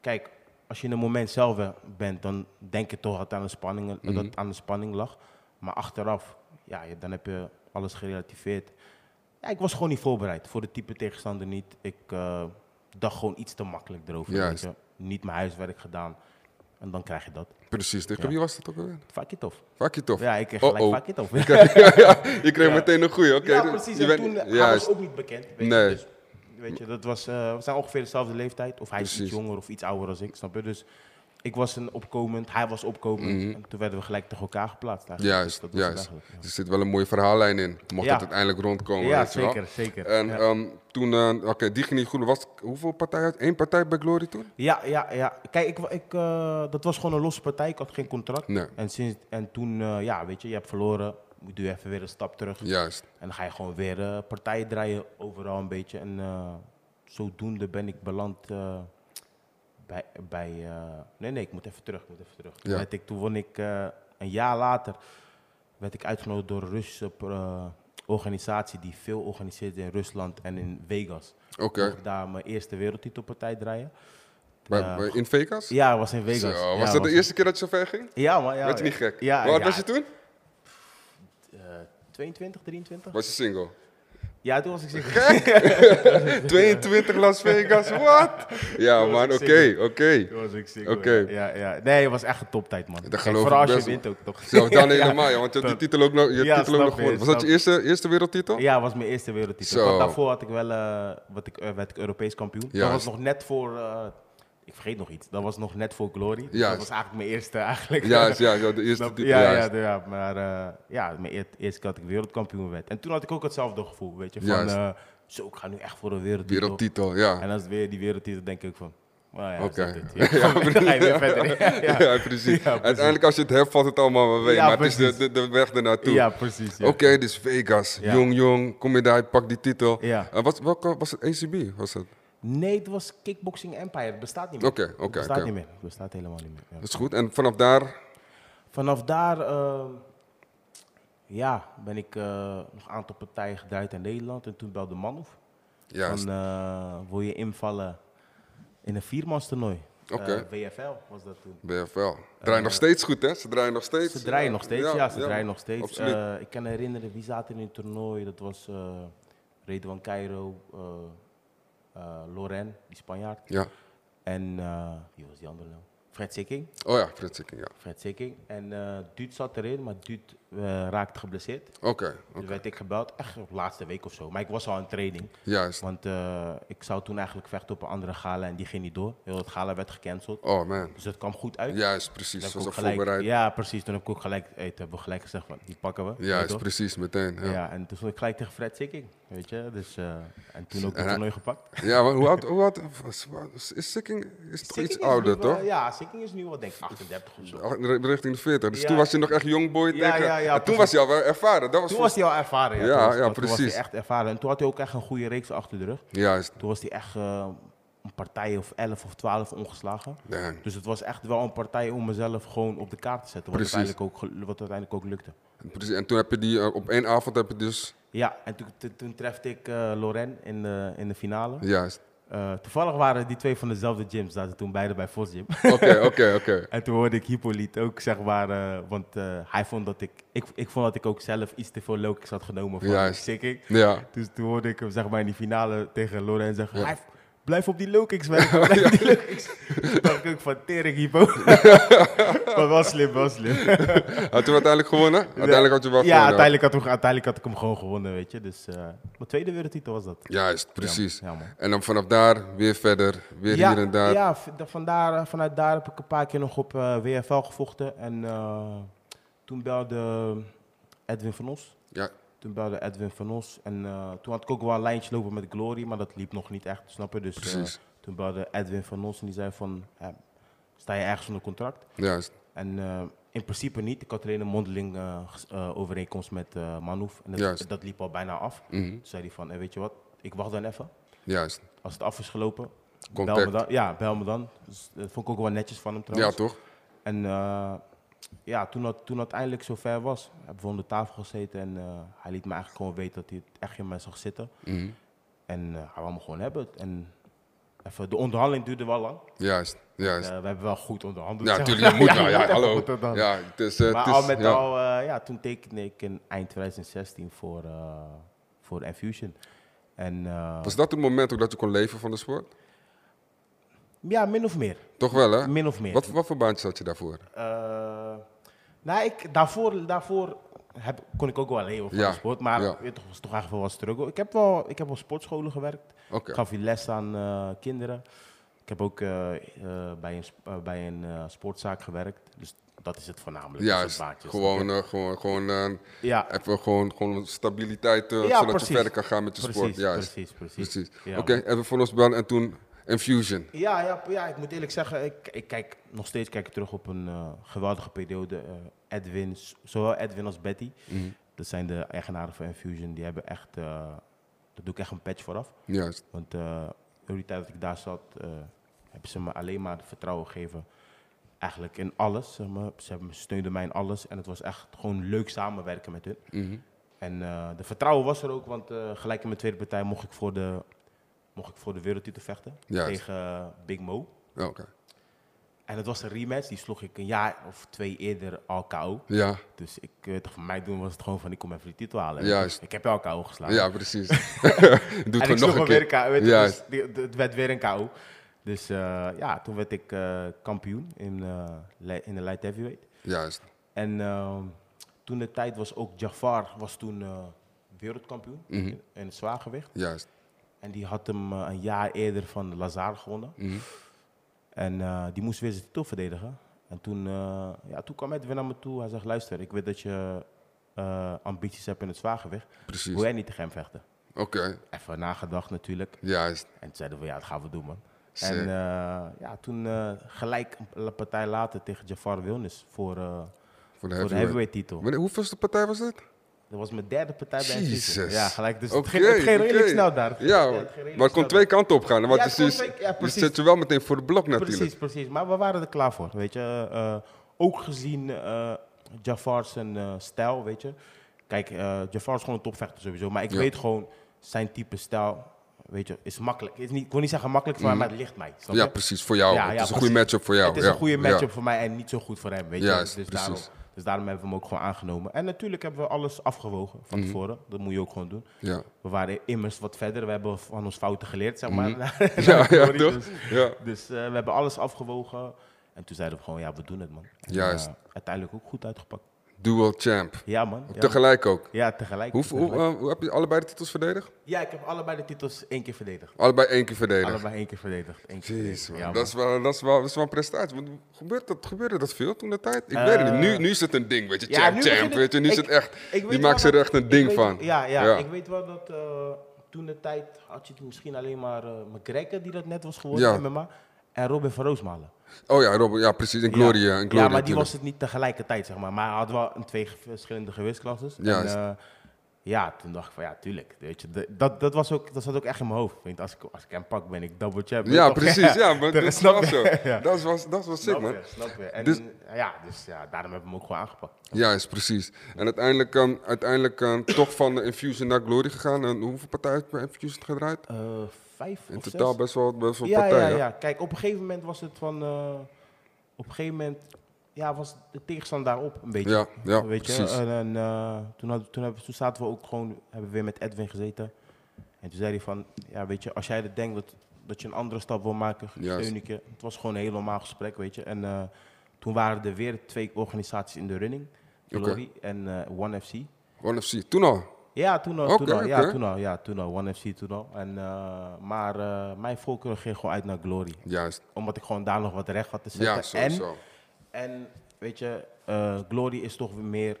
S3: kijk, als je in het moment zelf eh, bent, dan denk je toch dat aan de spanning, eh, dat
S1: Mhm.
S3: het aan de spanning lag. Maar achteraf, ja, je- dan heb je alles gerelativeerd. Ja, ik was gewoon niet voorbereid. Voor de type tegenstander niet. Ik eh, dacht gewoon iets te makkelijk erover. weet
S1: Juist.
S3: je. Niet mijn huiswerk gedaan. En dan krijg je dat.
S1: Precies. Tegen wie was dat ook alweer?
S3: Fuck it off.
S1: Fuck je toch?
S3: Ja, ik kreeg
S1: Oh,
S3: gelijk
S1: oh.
S3: fuck it off.
S1: Je kreeg meteen een goeie. oké
S3: ja,
S1: dus
S3: precies.
S1: je
S3: En
S1: bent-
S3: toen eh, hij was
S1: juist.
S3: ook niet bekend. Weet
S1: Nee.
S3: Je, dus, weet je, dat was, eh, we zijn ongeveer dezelfde leeftijd. Of hij is
S1: Precies.
S3: iets jonger of iets ouder dan ik, snap je? Dus ik was een opkomend, hij was opkomend. En toen werden we gelijk tegen elkaar geplaatst.
S1: Mhm.
S3: eigenlijk.
S1: Juist,
S3: Dus dat was het
S1: juist.
S3: eigenlijk,
S1: Er zit wel een mooie verhaallijn in. Mocht
S3: Ja.
S1: dat uiteindelijk rondkomen.
S3: Ja,
S1: weet je wel.
S3: zeker, zeker.
S1: En
S3: Ja.
S1: ehm, toen, eh, oké, die ging niet goed. Was, het- hoeveel partijen? Eén partij bij Glory toen?
S3: Ja, ja, ja. Kijk, ik, wa- ik, eh, dat was gewoon een losse partij. Ik had geen contract.
S1: Nee.
S3: En, sinds, en toen, eh, ja, weet je, je hebt verloren. Moet je even weer een stap terug.
S1: Juist.
S3: En dan ga je gewoon weer eh, partijen draaien overal een beetje. En eh, zodoende ben ik beland eh, bij... bij eh, nee, nee, ik moet even terug, ik moet even terug. Toen,
S1: Ja.
S3: werd ik, toen won ik eh, een jaar later, werd ik uitgenodigd door een Russische pro- organisatie die veel organiseert in Rusland en in Vegas.
S1: Oké.
S3: Mocht ik daar mijn eerste wereldtitelpartij draaien.
S1: Maar, maar in Vegas?
S3: Ja, het was in Vegas.
S1: Zo,
S3: Ja,
S1: was dat de eerste keer dat je zo ver ging?
S3: Ja, maar ja.
S1: Werd je niet gek?
S3: Ja,
S1: Hoe oud
S3: ja,
S1: was je toen?
S3: eh, 22, 23?
S1: Was je single?
S3: Ja, toen was ik zeker.
S1: 22 Las Vegas, wat? Ja man,
S3: ik
S1: oké,
S3: single.
S1: oké.
S3: Toen was ik single.
S1: Oké.
S3: Ja, ja. ja. Nee, het was echt een toptijd, man. Kijk,
S1: geloof
S3: vooral
S1: ik
S3: als je
S1: best
S3: wint ook, toch?
S1: Zelfs dan
S3: Ja, ja.
S1: helemaal, ja, want je had die titel ook nog, je had
S3: Ja,
S1: titel ook
S3: snap
S1: nog
S3: je,
S1: gewonnen. Was dat je
S3: snap
S1: eerste, eerste wereldtitel?
S3: Ja, was mijn eerste wereldtitel.
S1: Zo.
S3: Want daarvoor had ik wel, eh, wat ik, eh, werd ik Europees kampioen. Dat
S1: Juist.
S3: was nog net voor, eh, ik vergeet nog iets, dat was nog net voor Glory. Dus
S1: Juist.
S3: dat was eigenlijk mijn eerste eigenlijk.
S1: Ja, ja, ja, de eerste
S3: Snap je?
S1: titel.
S3: ja, ja,
S1: juist.
S3: de- ja, maar eh, ja, mijn eer- eerste keer dat ik wereldkampioen werd. En toen had ik ook hetzelfde gevoel, weet je, van
S1: Juist.
S3: eh, zo, ik ga nu echt voor een wereldtitel.
S1: Wereldtitel, ja.
S3: En als het weer die wereldtitel, denk ik van, nou ja,
S1: Oké.
S3: is dit het? Ja, dan ga je weer verder.
S1: Ja, precies.
S3: ja, Ja, precies.
S1: Uiteindelijk als je het hebt, valt het allemaal wel mee.
S3: Ja,
S1: maar het is de,
S3: precies.
S1: de, de weg ernaartoe.
S3: Ja, precies. ja.
S1: Oké, dus Vegas.
S3: Ja.
S1: Jong, jong. Kom je daar, je pakt die titel.
S3: Ja.
S1: Eh, wat, welke, was het ACB? Was het?
S3: Nee, het was Kickboxing Empire. Het bestaat niet meer.
S1: Oké, oké,
S3: Het bestaat
S1: oké.
S3: niet meer. Het bestaat helemaal niet meer. ja.
S1: Dat is goed. En vanaf daar...
S3: Vanaf daar eh, ja, ben ik eh, nog een aantal partijen gedraaid in Nederland. En toen belde Manhoef.
S1: Ja,
S3: Van, eh, wil je invallen in een viermanstoernooi?
S1: Oké.
S3: Eh, WFL was dat toen.
S1: BFL. Draaien nog steeds goed, hè? Ze draaien nog steeds.
S3: Eh, Ze draaien nog steeds, ja, ze draaien nog steeds.
S1: eh, Absoluut.
S3: Eh, ik kan herinneren, wie zaten in het toernooi? Dat was eh Redouan Cairo, eh eh, Loren, die Spanjaard.
S1: ja.
S3: En eh, wie was die andere nou? Fred Sikking.
S1: Oh ja, Frits Sikking, ja.
S3: Fred Sikking. En eh Duut zat erin, maar Duut eh, raakte geblesseerd.
S1: Oké,
S3: Dus
S1: oké.
S3: werd ik gebeld, echt op laatste week of zo. Maar ik was al in training.
S1: juist.
S3: Want eh, ik zou toen eigenlijk vechten op een andere gala en die ging niet door. Heel het gala werd gecanceld.
S1: Oh man.
S3: Dus dat kwam goed uit.
S1: Juist,
S3: Toen
S1: precies.
S3: heb ik
S1: Ze dus was al
S3: ook gelijk-
S1: voorbereid.
S3: Ja, precies. Toen heb ik ook gelijk, hey, toen hebben we gelijk gezegd van, die pakken we. Weet je
S1: Juist,
S3: toch?
S1: precies, meteen. Ja,
S3: Ja.
S1: ja.
S3: en toen stond ik gelijk tegen Fred Sikking, weet je. Dus, eh, en toen ook
S1: En
S3: het
S1: hij-
S3: toernooi gepakt.
S1: maar hoe oud, hoe oud was- was- is Sikking? Is toch
S3: Sikking
S1: iets
S3: is nu
S1: ouder,
S3: wel-
S1: toch?
S3: Ja, Sikking is nu wel denk ik 38 of zo.
S1: Ach, re- Richting de 40. Dus
S3: Ja.
S1: toen was je nog echt jongboy.
S3: Ja,
S1: tegen-
S3: ja, ja,
S1: en toen
S3: precies.
S1: was je al wel ervaren. Dat was
S3: Toen was hij al ervaren.
S1: Ja,
S3: toen was-
S1: ja,
S3: toen was hij
S1: precies.
S3: echt ervaren. En toen had hij ook echt een goede reeks achter de rug.
S1: Juist.
S3: Toen was hij echt eh, een partij of 11 of 12 ongeslagen.
S1: Damn.
S3: Dus het was echt wel een partij om mezelf gewoon op de kaart te zetten. Wat,
S1: Precies.
S3: uiteindelijk ook, gelu- wat uiteindelijk ook lukte.
S1: Precies. En toen heb je die, eh, op één avond heb je dus...
S3: Ja, en toen, toen, toen trefte ik eh Loren in de, in de finale.
S1: Juist.
S3: Eh, toevallig waren die twee van dezelfde gyms. Zaten toen beide bij Vos Gym.
S1: Oké, oké, oké.
S3: en toen hoorde ik Hippolyte ook, zeg maar... eh, want eh, hij vond dat ik, ik... Ik vond dat ik ook zelf iets te veel lokies had genomen van
S1: Juist.
S3: Sikking.
S1: Ja.
S3: Dus toen hoorde ik hem zeg maar, in die finale tegen Loren zeggen... "Hij- Blijf op die low kicks, man. Blijf op die low kicks. Toen dacht ik ook van tering, hypo. maar wel slim, wel slim.
S1: Had je uiteindelijk gewonnen? Uiteindelijk had je wel
S3: ja,
S1: gewonnen.
S3: uiteindelijk had, ik, uiteindelijk had ik hem gewoon gewonnen, weet je. Dus eh, mijn tweede wereldtitel was dat.
S1: Juist, precies.
S3: Ja, man.
S1: en dan vanaf daar weer verder, weer hier en daar.
S3: ja v- da- vandaar, eh, vanuit daar heb ik een paar keer nog op eh, WFL gevochten. En eh, toen belde Edwin van Os.
S1: Ja,
S3: Toen belde Edwin van Os. En eh, toen had ik ook wel een lijntje lopen met Glory, maar dat liep nog niet echt, snap je? Dus eh,
S1: Precies.
S3: toen belde Edwin van Os en die zei van, eh, sta je ergens onder contract?
S1: juist.
S3: En eh, in principe niet. Ik had alleen een mondeling eh, ges- eh, overeenkomst met eh Manhoef. En dat,
S1: Juist.
S3: dat liep al bijna af. Toen zei hij van, eh, weet je wat, ik wacht dan even.
S1: Mhm. Juist.
S3: Als het af is gelopen, bel
S1: Contact.
S3: me dan. Ja, bel me dan. Dus, dat vond ik ook wel netjes van hem
S1: Ja,
S3: trouwens.
S1: toch?
S3: En eh, ja, toen dat, toen dat eindelijk zover was, hebben we om de tafel gezeten en eh, hij liet me eigenlijk gewoon weten dat hij het echt in mij zag zitten.
S1: Mhm.
S3: En eh, hij wou me gewoon hebben. En even, de onderhandeling duurde wel lang.
S1: Juist, juist.
S3: Eh, we hebben wel goed onderhandeld.
S1: Dus- ja,
S3: zeg maar.
S1: natuurlijk, je moet wel.
S3: je
S1: Ja,
S3: moet even
S1: hallo.
S3: goed onderhandelen.
S1: Ja, het is... eh,
S3: Maar
S1: het is-
S3: al met
S1: ja.
S3: al, eh, ja, toen tekende ik in eind 2016 voor, eh voor Infusion. En eh,
S1: Was dat het moment ook dat je kon leven van de sport?
S3: ja, min of meer.
S1: Toch wel, hè?
S3: Min of meer.
S1: Wat, wat voor baantje had je daarvoor?
S3: Eh, nou, ik, daarvoor, daarvoor heb, kon ik ook wel leven van
S1: Ja,
S3: de sport. Maar
S1: ja.
S3: het was toch eigenlijk wel wat struggle. Ik heb wel, ik heb op sportscholen gewerkt.
S1: Oké.
S3: Ik gaf hier les aan eh, kinderen. Ik heb ook eh, eh, bij een, sp- eh, bij een eh, sportzaak gewerkt. Dus dat is het voornamelijk. dat
S1: Juist,
S3: soort baantjes.
S1: gewoon, eh, gewoon, gewoon, eh,
S3: Ja.
S1: even gewoon, gewoon stabiliteit, eh,
S3: Ja,
S1: zodat je
S3: precies.
S1: verder kan gaan met je sport.
S3: Precies,
S1: Juist.
S3: precies, precies. Ja,
S1: Oké, even voor ons bellen en toen Infusion.
S3: Ja, ja, p- ja, ik moet eerlijk zeggen, ik, ik kijk nog steeds kijk ik terug op een eh, geweldige periode. Eh, Edwin, s- zowel Edwin als Betty,
S1: Mhm.
S3: dat zijn de eigenaren van Infusion, die hebben echt, eh, daar doe ik echt een patch vooraf.
S1: Juist,
S3: Want eh door die tijd dat ik daar zat, eh, hebben ze me alleen maar vertrouwen gegeven. Eigenlijk
S1: Mhm.
S3: in alles. Zeg maar. Ze hebben- steunden mij in alles. En het was echt gewoon leuk samenwerken met hun. En eh, de vertrouwen was er ook, want eh, gelijk in mijn tweede partij mocht ik voor de, mocht ik voor de wereldtitel vechten.
S1: Juist.
S3: Tegen eh, Big Mo.
S1: Oké.
S3: En dat was een rematch, die sloeg ik een jaar of twee eerder al KO.
S1: Ja,
S3: Dus ik, eh, voor mij doen was het gewoon van, ik kom even die titel halen.
S1: Juist.
S3: Ik heb jou KO geslagen.
S1: ja, precies. Doet
S3: Nou, en
S1: we
S3: ik sloeg
S1: nog
S3: hem
S1: een
S3: weer een
S1: keer.
S3: KO. weet je,
S1: Juist.
S3: dus die- het werd weer een KO. Dus eh, ja, toen werd ik eh, kampioen in, eh, li- in de light heavyweight.
S1: Juist.
S3: En ehm, toen de tijd was ook Jafar was toen eh, wereldkampioen
S1: Mhm.
S3: in, in het zwaargewicht.
S1: Juist.
S3: En die had hem eh, een jaar eerder van Lazar gewonnen.
S1: Mhm.
S3: En eh, die moest weer zijn titel verdedigen. En toen, eh, ja, toen kwam Ed weer naar me toe. Hij zegt, luister, ik weet dat je eh, ambities hebt in het zwaargewicht.
S1: Precies.
S3: Wil jij niet tegen hem vechten?
S1: Oké.
S3: Even nagedacht natuurlijk.
S1: Juist.
S3: En toen zeiden we, ja, dat gaan we doen, man.
S1: Sick.
S3: En eh, ja, toen eh, gelijk een partij later tegen Jafar Wilnis voor, eh,
S1: Voor de
S3: voor de
S1: heavyweight.
S3: heavyweight titel.
S1: Wanneer, hoeveelste partij was dit?
S3: Dat was mijn derde partij bij het
S1: Jezus.
S3: seizoen. Ja, gelijk. Dus het
S1: Oké,
S3: ging, het ging redelijk
S1: oké.
S3: snel daar.
S1: Ja,
S3: het ging redelijk
S1: maar het kon
S3: snel
S1: twee kanten op gaan. Want
S3: Ja,
S1: je,
S3: het kon
S1: zit-
S3: twee- ja,
S1: je
S3: precies.
S1: zit je wel meteen voor het blok natuurlijk.
S3: Precies, precies. Maar we waren er klaar voor, weet je. Eh, ook gezien eh Jafar zijn eh, stijl, weet je. Kijk, eh, Jafar is gewoon een topvechter sowieso. Maar ik
S1: Ja.
S3: weet gewoon, zijn type stijl, weet je, is makkelijk. Is niet, ik wil niet zeggen makkelijk voor hem, maar het ligt mij. snap
S1: Mm. Ja,
S3: je?
S1: precies. Voor jou.
S3: Ja,
S1: het
S3: ja,
S1: is een goede
S3: precies.
S1: matchup voor jou.
S3: Het is
S1: ja,
S3: een goede
S1: ja.
S3: matchup voor mij en niet zo goed voor hem, weet je.
S1: Juist,
S3: dus,
S1: precies.
S3: daarom, dus daarom hebben we hem ook gewoon aangenomen. En natuurlijk hebben we alles afgewogen van tevoren. Dat moet je ook gewoon doen.
S1: Mhm. Ja.
S3: We waren immers wat verder. We hebben van ons fouten geleerd, zeg maar.
S1: Mhm. Ja, ja,
S3: Sorry,
S1: toch?
S3: Dus,
S1: Ja.
S3: dus, eh, we hebben alles afgewogen. En toen zeiden we gewoon, ja, we doen het, man. En,
S1: Juist.
S3: eh, uiteindelijk ook goed uitgepakt.
S1: Dual champ.
S3: Ja, man. Ja,
S1: Tegelijk ook.
S3: Ja, tegelijk.
S1: Hoe, hoe,
S3: Tegelijk.
S1: eh, hoe heb je allebei de titels verdedigd?
S3: Ja, ik heb allebei de titels één keer verdedigd.
S1: Allebei één keer verdedigd.
S3: Allebei één keer verdedigd. Eén keer
S1: Jeez,
S3: verdedigd.
S1: man.
S3: Ja, man.
S1: dat, is wel, dat, is wel, dat is wel een prestatie. Want gebeurt dat, gebeurde dat veel toen de tijd? Ik
S3: Eh,
S1: weet het niet. Nu, nu is het een ding, weet je.
S3: Ja,
S1: Champ,
S3: nu
S1: champ,
S3: begint het-
S1: weet je. Nu is
S3: ik-
S1: het echt...
S3: Ik weet
S1: Die
S3: wel
S1: maakt ze er
S3: dat-
S1: echt een
S3: ik
S1: ding
S3: weet-
S1: van.
S3: Ja, ja,
S1: Ja.
S3: ik weet wel dat eh, toen de tijd had je toen misschien alleen maar eh McGregor die dat net was geworden
S1: Ja.
S3: in MMA. En Robin van Roosmalen.
S1: Oh ja, Robert, ja, precies. En Gloria.
S3: ja.
S1: en
S3: Ja,
S1: Gloria
S3: maar die
S1: natuurlijk.
S3: was het niet tegelijkertijd, zeg maar. Maar hij had wel een twee ge- verschillende gewichtsklasses. En,
S1: Juist.
S3: eh, ja, toen dacht ik van ja, tuurlijk. Weet je, de- dat, dat, was ook, dat zat ook echt in mijn hoofd. Want als, ik, als ik hem pak, ben ik double champ.
S1: Ja, precies. Ja, maar
S3: Tegen-
S1: dat is
S3: snap
S1: wel zo.
S3: je? Ja.
S1: Dat was, dat was sick,
S3: Snap
S1: man.
S3: je, snap je. En
S1: Dus-
S3: ja, dus ja, daarom hebben we hem ook gewoon aangepakt.
S1: Ja, is precies. En uiteindelijk, ehm, uiteindelijk ehm, toch van de Infusion naar Glory gegaan. En hoeveel partijen heb je bij Infusion gedraaid?
S3: Eh, vijf
S1: In
S3: of
S1: totaal
S3: zes?
S1: best wel, best wel
S3: ja,
S1: partijen.
S3: Ja, ja, kijk, op een gegeven moment was het van. eh, op een gegeven moment ja, was de tegenstand daarop een beetje.
S1: Ja, ja,
S3: Weet
S1: precies.
S3: Je? En, en, eh, toen, hadden, toen, hebben, toen zaten we ook gewoon, hebben we weer met Edwin gezeten. En toen zei hij van, ja, weet je, als jij het denkt dat, dat je een andere stap wil maken,
S1: Juist.
S3: steun ik je. Het was gewoon een heel normaal gesprek, weet je. En eh, toen waren er weer twee organisaties in de running.
S1: Oké.
S3: Glory en eh One FC.
S1: One FC, toen al.
S3: Ja, toen al, toen
S1: Oké,
S3: al,
S1: oké.
S3: ja, toen al, ja, toen al, One FC toen al. En, eh, maar eh, mijn voorkeur ging gewoon uit naar Glory.
S1: Juist.
S3: Omdat ik gewoon daar nog wat recht had te
S1: Ja,
S3: zetten. en,
S1: sowieso.
S3: en, weet je, eh, Glory is toch weer meer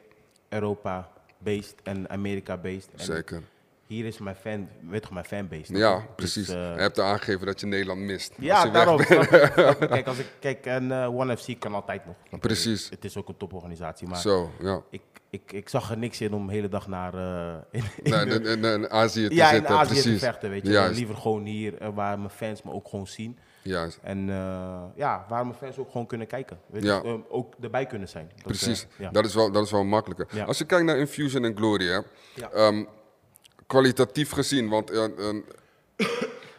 S3: Europa-based en Amerika-based. En
S1: Zeker.
S3: Hier is mijn, fan, weet toch, mijn fanbase. toch?
S1: Ja,
S3: Dus,
S1: precies.
S3: eh,
S1: je hebt aangegeven dat je Nederland mist. Als
S3: ja,
S1: je weg
S3: daarom.
S1: bent.
S3: snap je, snap je. Kijk, als ik, kijk en eh, One FC kan altijd nog. snap je?
S1: Precies.
S3: Het is ook een toporganisatie, maar
S1: Zo, ja.
S3: ik, ik, ik zag er niks in om de hele dag naar... eh, in, in
S1: Nee,
S3: de-
S1: in, in, in Azië te
S3: ja,
S1: zitten,
S3: in Azië
S1: precies.
S3: te vechten, weet je.
S1: Juist,
S3: Liever gewoon hier, eh, waar mijn fans me ook gewoon zien.
S1: juist.
S3: En eh, ja, waar mijn fans ook gewoon kunnen kijken. Weet je,
S1: Ja.
S3: eh, ook erbij kunnen zijn. Dat,
S1: Precies,
S3: eh, ja.
S1: dat, is wel, dat is wel makkelijker.
S3: Ja.
S1: Als je kijkt naar Infusion en Glory, hè,
S3: Ja.
S1: ehm, kwalitatief gezien, want eh, eh,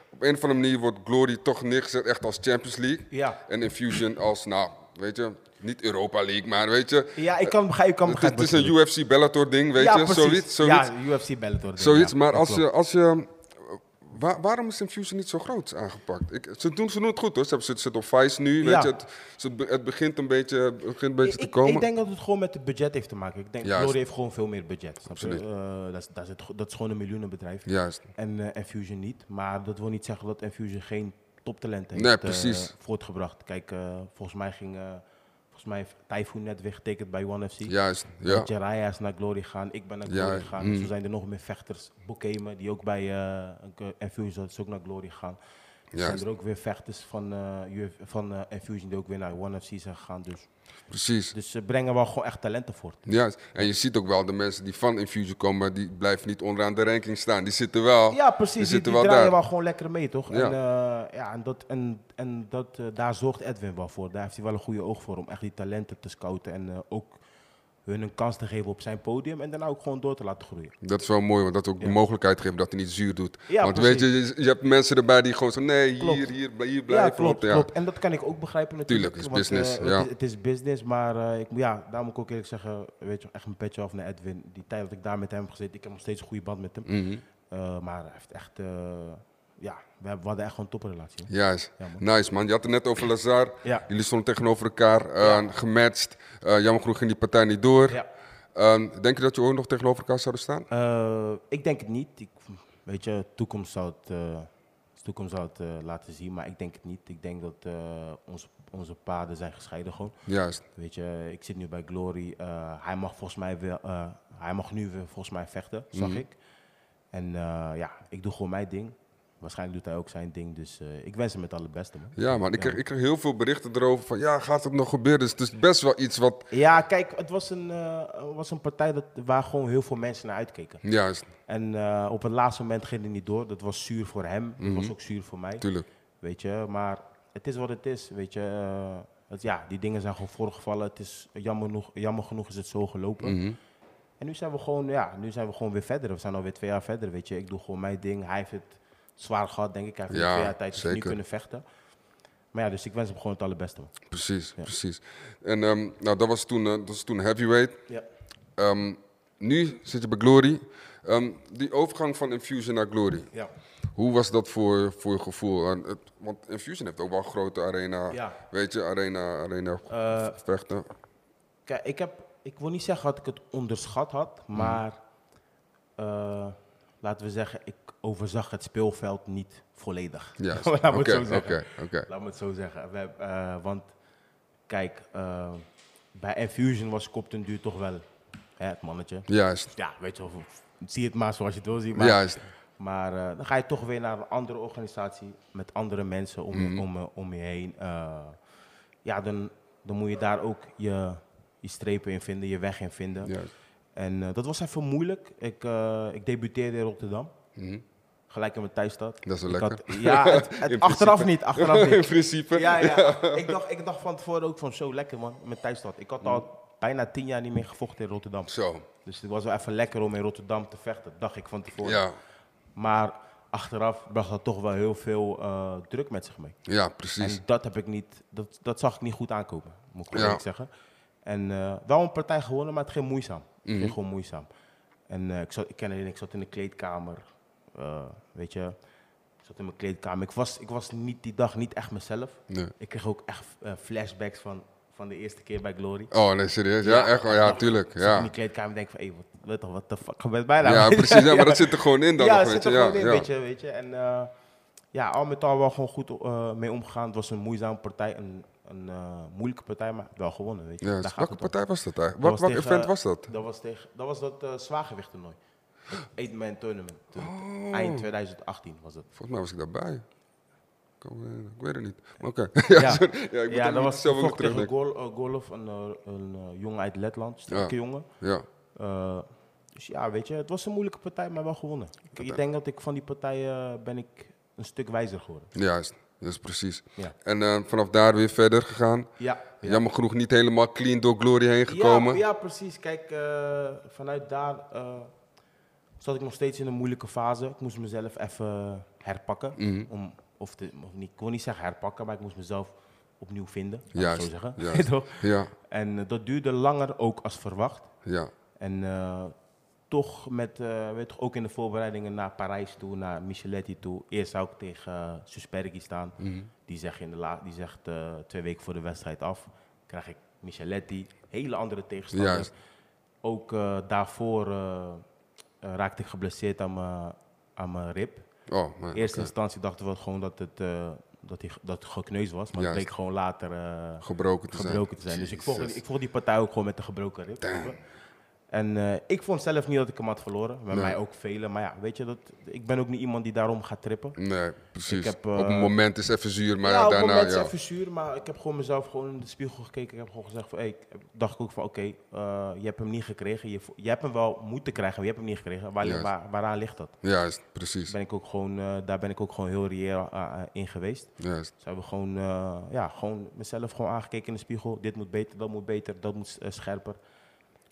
S1: op een of andere manier wordt Glory toch neergezet echt als Champions League.
S3: Ja.
S1: En Infusion als, nou, weet je, niet Europa League, maar weet je,
S3: ja, ik kan begrijpen. Ik kan
S1: het is, het
S3: begrijpen
S1: is
S3: wat
S1: een
S3: je
S1: UFC Bellator ding, weet
S3: bedoelt.
S1: je, zoiets.
S3: precies.
S1: zoiets,
S3: Ja, UFC Bellator.
S1: zoiets.
S3: ja,
S1: maar
S3: dat
S1: als
S3: klopt.
S1: je, als je wa- waarom is Infusion niet zo groot aangepakt? Ik, ze, doen, ze doen het goed hoor, ze hebben- ze zitten op Vice nu, weet
S3: Ja.
S1: je, het, ze- het begint een beetje, het begint een beetje
S3: Ik-
S1: te
S3: ik,
S1: komen.
S3: ik denk dat het gewoon met het budget heeft te maken. Ik denk,
S1: Juist.
S3: Glory heeft gewoon veel meer budget. Snap je?
S1: Absoluut.
S3: Eh, dat, is, dat, is het, go- dat is gewoon een miljoenenbedrijf.
S1: Juist.
S3: En eh Infusion niet. Maar dat wil niet zeggen dat Infusion geen toptalent heeft
S1: Nee,
S3: eh,
S1: precies.
S3: voortgebracht. Kijk, eh, volgens mij ging... eh, volgens mij heeft Typhoon net weer getekend bij One FC.
S1: Juist, ja.
S3: Jiraiya is naar Glory gaan, ik ben naar
S1: Ja, mm.
S3: Glory gegaan. Zo zijn er nog meer vechters. Bokemen, die ook bij eh Infusion is ook naar Glory gaan. Er zijn
S1: Juist.
S3: er ook weer vechters van, eh UF van eh, Infusion die ook weer naar One FC zijn gegaan. Dus,
S1: Precies.
S3: dus ze brengen wel gewoon echt talenten voort.
S1: Juist. En je ziet ook wel de mensen die van Infusion komen, die blijven niet onderaan de ranking staan. Die zitten wel.
S3: Ja, precies.
S1: Die
S3: Die,
S1: zitten
S3: die
S1: wel
S3: draaien
S1: daar.
S3: wel gewoon lekker mee, toch?
S1: Ja.
S3: En, eh, ja, en, dat, en, en dat, eh, daar zorgt Edwin wel voor. Daar heeft hij wel een goede oog voor om echt die talenten te scouten. En eh, ook hun een kans te geven op zijn podium en daarna ook gewoon door te laten groeien.
S1: Dat is wel mooi, want dat ook de mogelijkheid geeft dat hij niet zuur doet.
S3: Ja,
S1: want
S3: precies.
S1: weet je, je, je hebt mensen erbij die gewoon zo, nee, hier,
S3: Klopt.
S1: hier, bl- hier blijven.
S3: ja, klopt,
S1: ja.
S3: klopt. En dat kan ik ook begrijpen natuurlijk.
S1: Tuurlijk, het is
S3: want, eh,
S1: business, ja.
S3: het, is, het is business, maar eh, ik, moet- ja, daar moet ik ook eerlijk zeggen, weet je, echt een petje af naar Edwin. Die tijd dat ik daar met hem heb gezeten, ik heb nog steeds een goede band met hem.
S1: Mhm.
S3: Eh, maar hij heeft echt, eh, ja, we, hebben- we hadden echt gewoon een toprelatie. hè.
S1: Juist.
S3: Ja, man.
S1: nice man. Je had het net over Lazar.
S3: Ja.
S1: Jullie stonden tegenover elkaar, eh, gematcht. Eh, jammer genoeg ging die partij niet door.
S3: Ja.
S1: Eh, denk je dat je ook nog tegenover elkaar zouden staan?
S3: Eh, ik denk het niet. Ik, weet je, toekomst zou het, eh, de toekomst zou het eh, laten zien, maar ik denk het niet. Ik denk dat eh, onze, onze paden zijn gescheiden gewoon.
S1: Juist.
S3: Weet je, ik zit nu bij Glory. eh, hij mag volgens mij wel, eh, hij mag nu weer volgens mij vechten, zag ik. En eh, ja, ik doe gewoon mijn ding. Waarschijnlijk doet hij ook zijn ding, dus eh, ik wens hem het allerbeste, man.
S1: Ja man, ik kreeg, ik kreeg heel veel berichten erover van, ja, gaat het nog gebeuren? Dus het is best wel iets wat...
S3: Ja, kijk, het was een, eh, was een partij dat, waar gewoon heel veel mensen naar uitkeken.
S1: Juist,
S3: En eh, op het laatste moment ging het niet door. Dat was zuur voor hem, dat was ook zuur voor mij.
S1: tuurlijk.
S3: Weet je, maar het is wat het is, weet je. eh, het, ja, die dingen zijn gewoon voorgevallen. Het is eh, jammer genoeg, jammer genoeg is het zo gelopen.
S1: Mhm.
S3: En nu zijn we gewoon, ja, nu zijn we gewoon weer verder. We zijn alweer twee jaar verder, weet je. Ik doe gewoon mijn ding. Hij heeft het zwaar gehad, denk ik. Hij heeft
S1: Ja,
S3: in twee jaar tijd dus niet
S1: zeker.
S3: kunnen vechten. Maar ja, dus ik wens hem gewoon het allerbeste. man.
S1: Precies, precies. En ehm, nou, dat was toen, eh, dat was toen heavyweight. Ehm, nu zit je bij Glory. Ehm, die overgang van Infusion naar Glory,
S3: ja.
S1: hoe was dat voor, voor je gevoel? En het- want Infusion heeft ook wel een grote arena,
S3: Ja.
S1: weet je, arena, arena
S3: Eh,
S1: v- vechten.
S3: Kijk, ik, heb, ik wil niet zeggen dat ik het onderschat had,
S1: Mhm.
S3: maar eh, laten we zeggen, ik overzag het speelveld niet volledig.
S1: Juist,
S3: Laat me het
S1: oké,
S3: zo zeggen.
S1: oké, oké.
S3: Laat me het zo zeggen. We, hebben, eh, want kijk, eh, bij Infusion was Copten duur toch wel hè, het mannetje.
S1: Juist,
S3: Ja, weet je wel, zie het maar zoals je het wil zien. Maar,
S1: Juist.
S3: maar eh, dan ga je toch weer naar een andere organisatie met andere mensen om,
S1: Mhm.
S3: je- om, eh, om je heen. Eh, ja, dan, dan moet je daar ook je, je strepen in vinden, je weg in vinden.
S1: Juist.
S3: En eh, dat was even moeilijk. Ik, eh, ik debuteerde in Rotterdam. Gelijk in mijn thuisstad.
S1: Mhm. Dat is wel
S3: Ik
S1: lekker.
S3: had- ja, het- het-
S1: principe.
S3: achteraf niet. Achteraf
S1: in
S3: niet.
S1: principe.
S3: Ja, ja. ik, dacht, ik dacht van tevoren ook van zo lekker man, mijn thuisstad. Ik had al bijna tien jaar niet meer gevochten in Rotterdam.
S1: Zo,
S3: Dus het was wel even lekker om in Rotterdam te vechten, dacht ik van tevoren.
S1: ja,
S3: Maar achteraf bracht dat toch wel heel veel eh, druk met zich mee.
S1: ja, precies.
S3: En dat, heb ik niet, dat, dat zag ik niet goed aankomen, moet ik
S1: Ja.
S3: eerlijk zeggen. En eh, wel een partij gewonnen, maar het ging moeizaam. Het
S1: Mhm.
S3: ging gewoon moeizaam. En eh, ik, zat, ik, ken, ik zat in de kleedkamer, eh, weet je. Ik zat in mijn kleedkamer. Ik was, ik was niet, die dag niet echt mezelf.
S1: Nee.
S3: Ik kreeg ook echt eh, flashbacks van, van de eerste keer bij Glory.
S1: Oh nee, serieus? Ja, echt? wel, Ja,
S3: ik
S1: tuurlijk.
S3: zat in
S1: Ja,
S3: die kleedkamer en denk van, hé, wat, wat, what the fuck gebeurt bijna?
S1: ja precies. Ja, maar dat zit er gewoon in dan
S3: ja,
S1: nog,
S3: het
S1: weet
S3: zit
S1: je.
S3: er
S1: Ja,
S3: gewoon in,
S1: ja.
S3: weet je, weet je. En eh, ja, al met al wel gewoon goed eh, mee omgegaan. Het was een moeizame partij, een, een eh, moeilijke partij, maar wel gewonnen, weet je.
S1: Ja,
S3: Daar
S1: dus
S3: gaat
S1: welke
S3: het om.
S1: partij was dat eigenlijk? Wat,
S3: Dat was
S1: wat
S3: tegen-
S1: event was dat?
S3: Dat was, tegen, dat, was dat eh zwaargewicht toernooi. Het Eight Man Tournament. toen-
S1: Oh.
S3: Eind 2018 was het.
S1: Volgens mij was ik daarbij. Ik kan me niet herinneren, Ik weet het niet. Maar oké. ja, sorry. ja, ik moet
S3: ja, dat was
S1: zelf ook
S3: gevochten
S1: weer
S3: tegen
S1: terugdenken.
S3: Gol, eh, Golov, een, eh, een eh, jongen uit Letland, sterke
S1: Ja.
S3: jongen.
S1: Ja,
S3: Eh, dus ja, weet je, het was een moeilijke partij, maar wel gewonnen. Ik, ik denk dat ik van die partij eh, ben ik een stuk wijzer geworden.
S1: juist. Dat is precies.
S3: Ja.
S1: En eh, vanaf daar weer verder gegaan.
S3: Ja, ja.
S1: Jammer genoeg niet helemaal clean door Glory heen gekomen.
S3: Ja, ja precies. Kijk, eh, vanuit daar eh, zat ik nog steeds in een moeilijke fase. Ik moest mezelf even herpakken.
S1: Mhm.
S3: om, of te, of niet, ik wil niet zeggen herpakken, maar ik moest mezelf opnieuw vinden. laat ik het
S1: Juist,
S3: zo zeggen.
S1: juist.
S3: Toch?
S1: Ja,
S3: En eh, dat duurde langer ook als verwacht.
S1: ja.
S3: En eh, toch met, eh, weet je, ook in de voorbereidingen naar Parijs toe, naar Micheletti toe. Eerst zou ik tegen eh, Suspergi staan.
S1: Mhm.
S3: Die zegt, in de la- die zegt eh, twee weken voor de wedstrijd af. Krijg ik Micheletti, hele andere tegenstander.
S1: Juist.
S3: Ook eh, daarvoor eh, eh, raakte ik geblesseerd aan mijn- aan mijn rib.
S1: Oh, man.
S3: In eerste
S1: oké.
S3: instantie dachten we gewoon dat het, eh, dat hij, dat het gekneusd was. Maar het
S1: Juist.
S3: bleek gewoon later... eh,
S1: Gebroken te zijn.
S3: gebroken te zijn. Dus ik volg,
S1: Jezus.
S3: ik volg die partij ook gewoon met een gebroken rib. En eh, ik vond zelf niet dat ik hem had verloren. Bij mij ook velen. Maar ja, weet je, dat, ik ben ook niet iemand die daarom gaat trippen.
S1: Nee, precies.
S3: Ik heb,
S1: op het
S3: eh,
S1: moment is het even zuur, maar
S3: ja,
S1: ja,
S3: op het
S1: daarna...
S3: moment is
S1: Ja.
S3: even zuur, maar ik heb gewoon mezelf gewoon in de spiegel gekeken. Ik heb gewoon gezegd van, hey, ik- dacht ik ook van, oké, eh, je hebt hem niet gekregen. Je, vo- je hebt hem wel moeten krijgen, maar je hebt hem niet gekregen. Waar,
S1: Juist.
S3: waar- waaraan ligt dat?
S1: Juist, precies.
S3: Ben ik ook gewoon, eh, daar ben ik ook gewoon heel reëel eh, eh, in geweest.
S1: Juist.
S3: Ze hebben gewoon, eh, ja, gewoon mezelf gewoon aangekeken in de spiegel. Dit moet beter, dat moet beter, dat moet eh, scherper.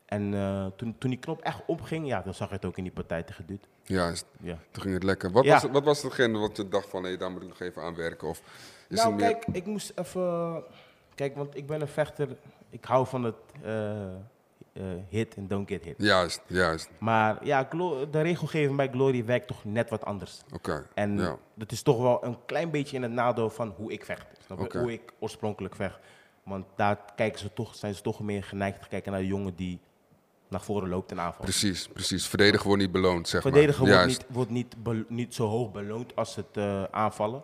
S3: En eh, toen, toen die knop echt opging, ja, dan zag je het ook in die partij tegen Dude.
S1: Juist.
S3: Ja.
S1: Toen ging het lekker. Wat,
S3: Ja.
S1: was, wat was hetgene wat je dacht van, hé, daar moet ik nog even aan werken? Of is
S3: nou,
S1: het Dus meer...
S3: kijk, ik moest even. Kijk, want ik ben een vechter. Ik hou van het eh, eh, hit en don't get hit.
S1: Juist, juist.
S3: Maar ja, glo- de regelgeving bij Glory werkt toch net wat anders.
S1: Oké.
S3: En
S1: ja.
S3: dat is toch wel een klein beetje in het nadeel van hoe ik vecht. Snap je?
S1: Oké.
S3: Hoe ik oorspronkelijk vecht. Want daar kijken ze toch, zijn ze toch meer geneigd te kijken naar de jongen die naar voren loopt en aanvalt.
S1: Precies, precies. Verdedigen wordt niet beloond, zeg
S3: Verdedigen
S1: maar.
S3: wordt,
S1: Juist.
S3: niet, wordt niet, bel- niet zo hoog beloond als het eh, aanvallen.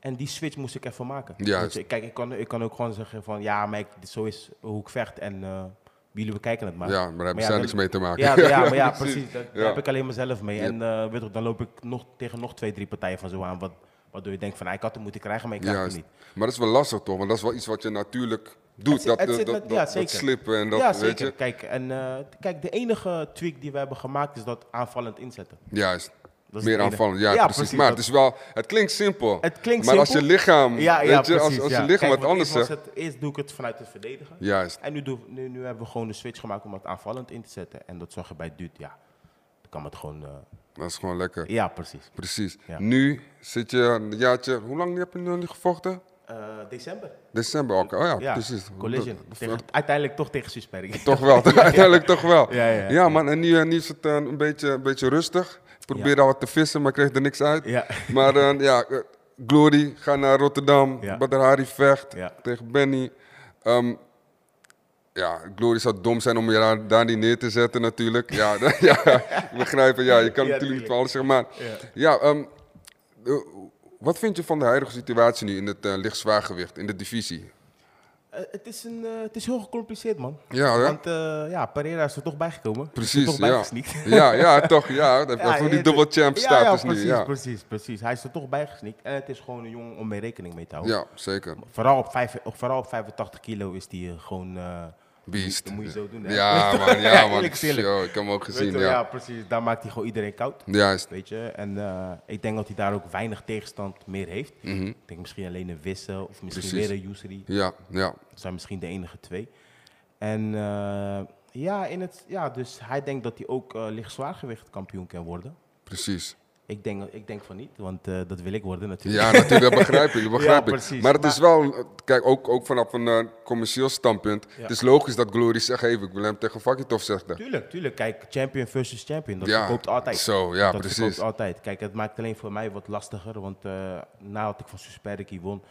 S3: En die switch moest ik even maken.
S1: Mhm. Juist.
S3: Want, eh, kijk, ik kan, ik kan ook gewoon zeggen van ja, maar ik, dit- zo is hoe ik vecht en eh, jullie bekijken het maar.
S1: Ja, maar daar hebben zij
S3: dan-
S1: niks mee te maken.
S3: Ja, maar ja, maar ja precies. Daar, daar
S1: Ja.
S3: heb ik alleen mezelf mee. En eh, weet je, dan loop ik nog, tegen nog twee, drie partijen van zo aan. Wat, waardoor je denkt van ah, ik had hem moeten krijgen, maar ik krijg
S1: Juist.
S3: hem niet.
S1: Maar dat is wel lastig toch? Want dat is wel iets wat je natuurlijk doet.
S3: Het
S1: Dat, eh,
S3: zit- het
S1: dat,
S3: zit
S1: dat,
S3: met-
S1: dat-
S3: ja,
S1: dat
S3: zeker.
S1: slippen en dat,
S3: ja,
S1: weet
S3: zeker.
S1: je.
S3: Kijk, en, eh, kijk, de enige tweak die we hebben gemaakt is dat aanvallend inzetten.
S1: Juist.
S3: het
S1: Meer
S3: enige.
S1: aanvallend, ja,
S3: Ja,
S1: precies.
S3: precies,
S1: Maar
S3: dat-
S1: het, is wel, het klinkt simpel.
S3: Het klinkt
S1: maar als je
S3: simpel.
S1: lichaam,
S3: Ja,
S1: weet
S3: ja,
S1: je, als,
S3: precies,
S1: als
S3: ja.
S1: je lichaam
S3: Kijk,
S1: wat
S3: want
S1: anders
S3: eerst
S1: zegt.
S3: was het- Eerst doe ik het vanuit het verdedigen.
S1: Juist.
S3: En nu, doe, nu, nu hebben we gewoon een switch gemaakt om het aanvallend in te zetten. En dat zag je bij Duut, ja. Dan kan het gewoon... eh,
S1: Dat is gewoon lekker.
S3: ja, precies.
S1: Precies.
S3: Ja.
S1: Nu zit je een jaartje... Hoe lang heb je nu al gevochten?
S3: Eh, december.
S1: December ook. Oh ja,
S3: Ja,
S1: precies.
S3: Collision.
S1: Dat-
S3: Tegen- uiteindelijk toch tegen Suspering.
S1: Toch wel, uiteindelijk toch wel.
S3: Ja, ja, ja.
S1: man, en nu, eh, nu is het eh, een, beetje, een beetje rustig. Ik probeerde al wat te vissen, maar ik kreeg er niks uit.
S3: Ja.
S1: Maar eh, ja, eh, Glory, ga naar Rotterdam.
S3: Ja.
S1: Badr Hari vecht
S3: Ja.
S1: tegen Benny. Ehm, ja, Glory zou dom zijn om je daar, daar niet neer te zetten natuurlijk. Ja, dat- ja ik begrijp het. Ja, je kan
S3: Ja,
S1: natuurlijk
S3: tuurlijk.
S1: niet van alles zeggen. Maar ja, ehm, eh, wat vind je van de huidige situatie nu in het eh, licht zwaargewicht, in de divisie?
S3: Eh, het, is een, eh, het is heel gecompliceerd, man.
S1: Ja, hè?
S3: Want eh, ja, Pereira is er toch bijgekomen. Is er
S1: Precies,
S3: toch
S1: ja.
S3: bijgesneakt.
S1: ja. Ja, toch, ja. Dat
S3: Ja,
S1: ja, voor die
S3: het-
S1: double champ
S3: ja,
S1: status
S3: ja,
S1: nu.
S3: precies,
S1: Ja.
S3: precies, precies. Hij is er toch bijgesneakt. En het is gewoon een jongen om mee rekening mee te houden.
S1: ja, zeker.
S3: Vooral, op vijf, vooral op 85 kilo is die eh, gewoon... eh,
S1: Beast.
S3: Dat moet je zo doen, hè?
S1: Ja, man, ja, man.
S3: eerlijk is eerlijk.
S1: Yo, ik heb hem ook
S3: Weet je
S1: gezien,
S3: wel, ja,
S1: ja.
S3: precies. Daar maakt hij gewoon iedereen koud.
S1: Juist.
S3: Weet je? En eh, ik denk dat hij daar ook weinig tegenstand meer heeft. Ik denk misschien alleen een Wissel of misschien
S1: Mhm. Precies.
S3: weer een Yusri.
S1: Ja, ja.
S3: Dat zijn misschien de enige twee. En eh, ja, in het, ja, dus hij denkt dat hij ook eh licht zwaargewicht kampioen kan worden.
S1: Precies.
S3: Ik denk, ik denk van niet, want eh, dat wil ik worden natuurlijk.
S1: Ja, natuurlijk, dat begrijp ik. Dat begrijp ik.
S3: precies,
S1: maar het is
S3: maar-
S1: wel, kijk, ook, ook vanaf een eh, commercieel standpunt. Het is logisch dat Glory zegt: hey, ik wil hem tegen Vakitov zeggen.
S3: Tuurlijk, tuurlijk. Kijk, champion versus champion, dat
S1: Ja,
S3: verkoopt altijd.
S1: zo, ja,
S3: dat
S1: precies.
S3: verkoopt altijd. Kijk, het maakt alleen voor mij wat lastiger, want eh nadat ik van Susperiki won,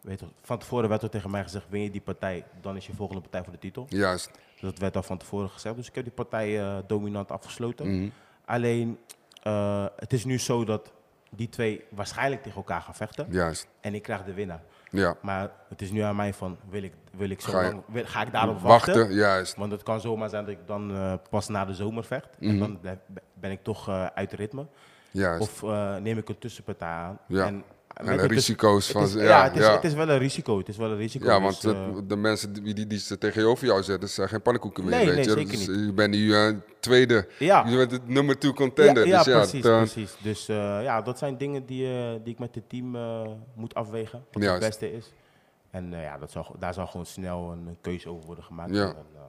S3: weet je, van tevoren werd er tegen mij gezegd, win je die partij, dan is je volgende partij voor de titel. Dus
S1: Juist.
S3: Dat werd al van tevoren gezegd, dus ik heb die partij eh, dominant afgesloten.
S1: Mhm.
S3: Alleen, eh, het is nu zo dat die twee waarschijnlijk tegen elkaar gaan vechten
S1: Juist.
S3: en ik krijg de winnaar.
S1: Ja.
S3: Maar het is nu aan mij van, wil ik, wil ik zo
S1: Ga je-
S3: lang, wil- ga ik daarop
S1: Wachten,
S3: wachten?
S1: juist.
S3: Want het kan zomaar zijn dat ik dan eh, pas na de zomer vecht.
S1: Mhm.
S3: En dan blijf- ben ik toch eh, uit ritme.
S1: Juist.
S3: Of eh, neem ik een tussenpartij aan.
S1: Ja.
S3: En,
S1: En
S3: met
S1: de
S3: een tuss-
S1: risico's
S3: het
S1: van
S3: is-
S1: ze-
S3: ja,
S1: ja,
S3: het, is,
S1: ja.
S3: het is wel een risico. Het is wel een risico.
S1: Ja,
S3: dus,
S1: want
S3: eh,
S1: het- de mensen die, die, die ze tegenover jou zetten, zijn geen pannenkoeken meer.
S3: Nee,
S1: weet
S3: nee,
S1: je?
S3: zeker
S1: Dus
S3: niet.
S1: je bent nu eh, tweede.
S3: Ja.
S1: Je bent het nummer 2 contender.
S3: ja,
S1: dus ja,
S3: precies,
S1: het, eh,
S3: precies. Dus eh, ja, dat zijn dingen die, eh, die ik met het team eh, moet afwegen. Wat
S1: Juist.
S3: het beste is. En eh, ja, dat zal, daar zal gewoon snel een, een keuze over worden gemaakt.
S1: Ja.
S3: En dan, eh,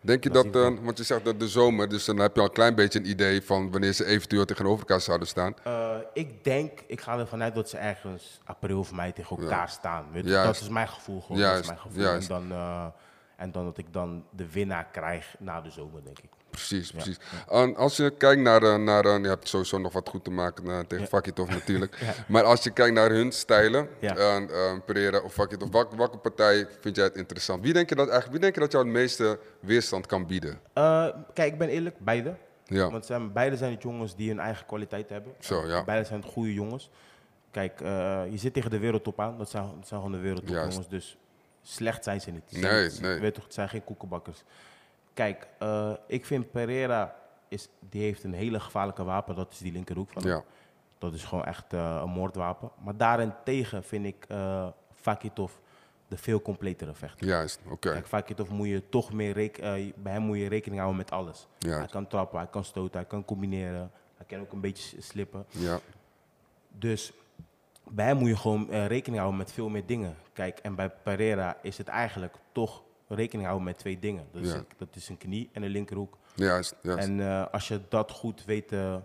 S1: Denk je
S3: Dat
S1: dat,
S3: is
S1: eh, want je zegt dat de zomer, dus dan heb je al een klein beetje een idee van wanneer ze eventueel tegenover elkaar zouden staan.
S3: Eh, ik denk, ik ga ervan uit dat ze ergens april of mei tegen elkaar staan. Weet je,
S1: Juist.
S3: Dat is mijn gevoel gewoon. dat
S1: Juist,
S3: is mijn gevoel.
S1: juist.
S3: En, dan, eh, en dan dat ik dan de winnaar krijg na de zomer, denk ik.
S1: Precies, precies. En als je kijkt naar, eh, naar eh, je hebt sowieso nog wat goed te maken eh, tegen Fakitov natuurlijk. Maar als je kijkt naar hun stijlen,
S3: Ja.
S1: en, eh, Pereira of Fakitov, welke, welke partij vind jij het interessant? Wie denk je dat eigenlijk, wie denk je dat jou het meeste weerstand kan bieden?
S3: Eh, kijk, ik ben eerlijk, beide.
S1: Ja.
S3: Want zijn, beide zijn het jongens die hun eigen kwaliteit hebben.
S1: Zo, ja.
S3: Beide zijn het goede jongens. Kijk, eh, je zit tegen de wereldtop aan. Dat zijn, dat zijn gewoon de wereldtopjongens.
S1: Juist.
S3: Dus slecht zijn ze niet. Ze
S1: Nee,
S3: zijn- ze-
S1: nee.
S3: Weet toch, het zijn geen koekenbakkers. Kijk, eh, ik vind Pereira, is, die heeft een hele gevaarlijke wapen. Dat is die linkerhoek van hem.
S1: Ja.
S3: Dat is gewoon echt eh, een moordwapen. Maar daarentegen vind ik eh Fakitov de veel completere vechter.
S1: Juist, oké.
S3: Kijk, Vakitov moet je toch meer rek- eh, bij hem moet je rekening houden met alles.
S1: Ja.
S3: Hij kan trappen, hij kan stoten, hij kan combineren, hij kan ook een beetje s- slippen.
S1: Ja,
S3: Dus bij hem moet je gewoon eh, rekening houden met veel meer dingen. Kijk, en bij Pereira is het eigenlijk toch rekening houden met twee dingen. Dat is,
S1: Ja.
S3: een, dat is een knie en een linkerhoek.
S1: Juist, juist.
S3: En eh, als je dat goed weet, te-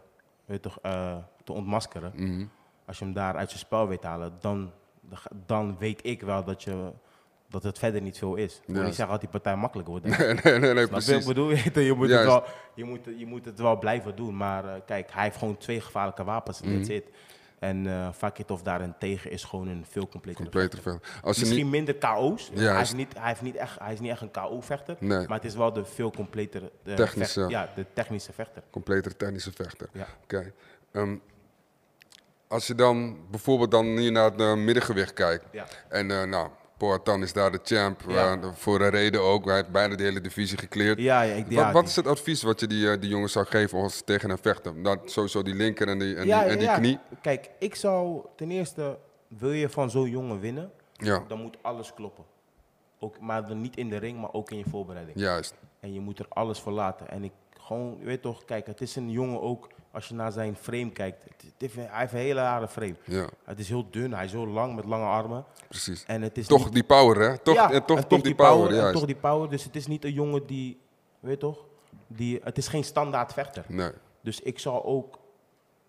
S3: weet te, eh, te ontmaskeren,
S1: Mhm.
S3: als je hem daar uit zijn spel weet te halen, dan, dan ga- dan weet ik wel dat, je, dat het verder niet veel is. Ik wil niet
S1: Juist.
S3: zeggen dat die partij makkelijk wordt.
S1: nee, nee, nee, nee,
S3: Maar ik
S1: precies.
S3: bedoel, je, je, moet het
S1: Juist.
S3: wel, je, moet, je moet het wel blijven doen. Maar eh, kijk, hij heeft gewoon twee gevaarlijke wapens.
S1: Mhm.
S3: en That's it. En eh Vakitov daarin tegen is gewoon een veel completere
S1: Completer
S3: vechter.
S1: vechter. Als je
S3: Misschien
S1: niet...
S3: minder KO's. Hij,
S1: Juist.
S3: is niet, hij, heeft niet echt, hij is niet echt een KO-vechter.
S1: Nee.
S3: Maar het is wel de veel completere... eh,
S1: Technische.
S3: vecht- ja, de technische vechter.
S1: Completere technische vechter.
S3: Ja.
S1: Oké. Ehm, als je dan bijvoorbeeld dan hier naar het eh, middengewicht kijkt.
S3: Ja.
S1: En eh, nou, Poatan is daar de champ.
S3: Ja.
S1: eh, voor een reden ook. Hij heeft bijna de hele divisie gekleerd.
S3: Ja, ja, ik-
S1: wat,
S3: ja,
S1: wat
S3: die-
S1: is het advies wat je die, eh, die jongens zou geven als ze tegen hem vechten? Dat, sowieso die linker en die, en die, en die knie.
S3: Kijk, ik zou ten eerste... Wil je van zo'n jongen winnen,
S1: Ja.
S3: dan moet alles kloppen. Ook, maar dan niet in de ring, maar ook in je voorbereiding.
S1: Juist.
S3: En je moet er alles voor laten. En ik gewoon, je weet toch, kijk, het is een jongen ook, als je naar zijn frame kijkt. het- het heeft- hij heeft een hele rare frame.
S1: Ja.
S3: Het is heel dun, hij is heel lang met lange armen.
S1: Precies.
S3: En het is
S1: toch
S3: niet-
S1: die power, hè? Toch,
S3: Ja,
S1: en toch,
S3: en
S1: toch die power,
S3: en
S1: juist.
S3: toch die power. Dus het is niet een jongen die, weet toch, die, het is geen standaard vechter.
S1: Nee.
S3: Dus ik zou ook,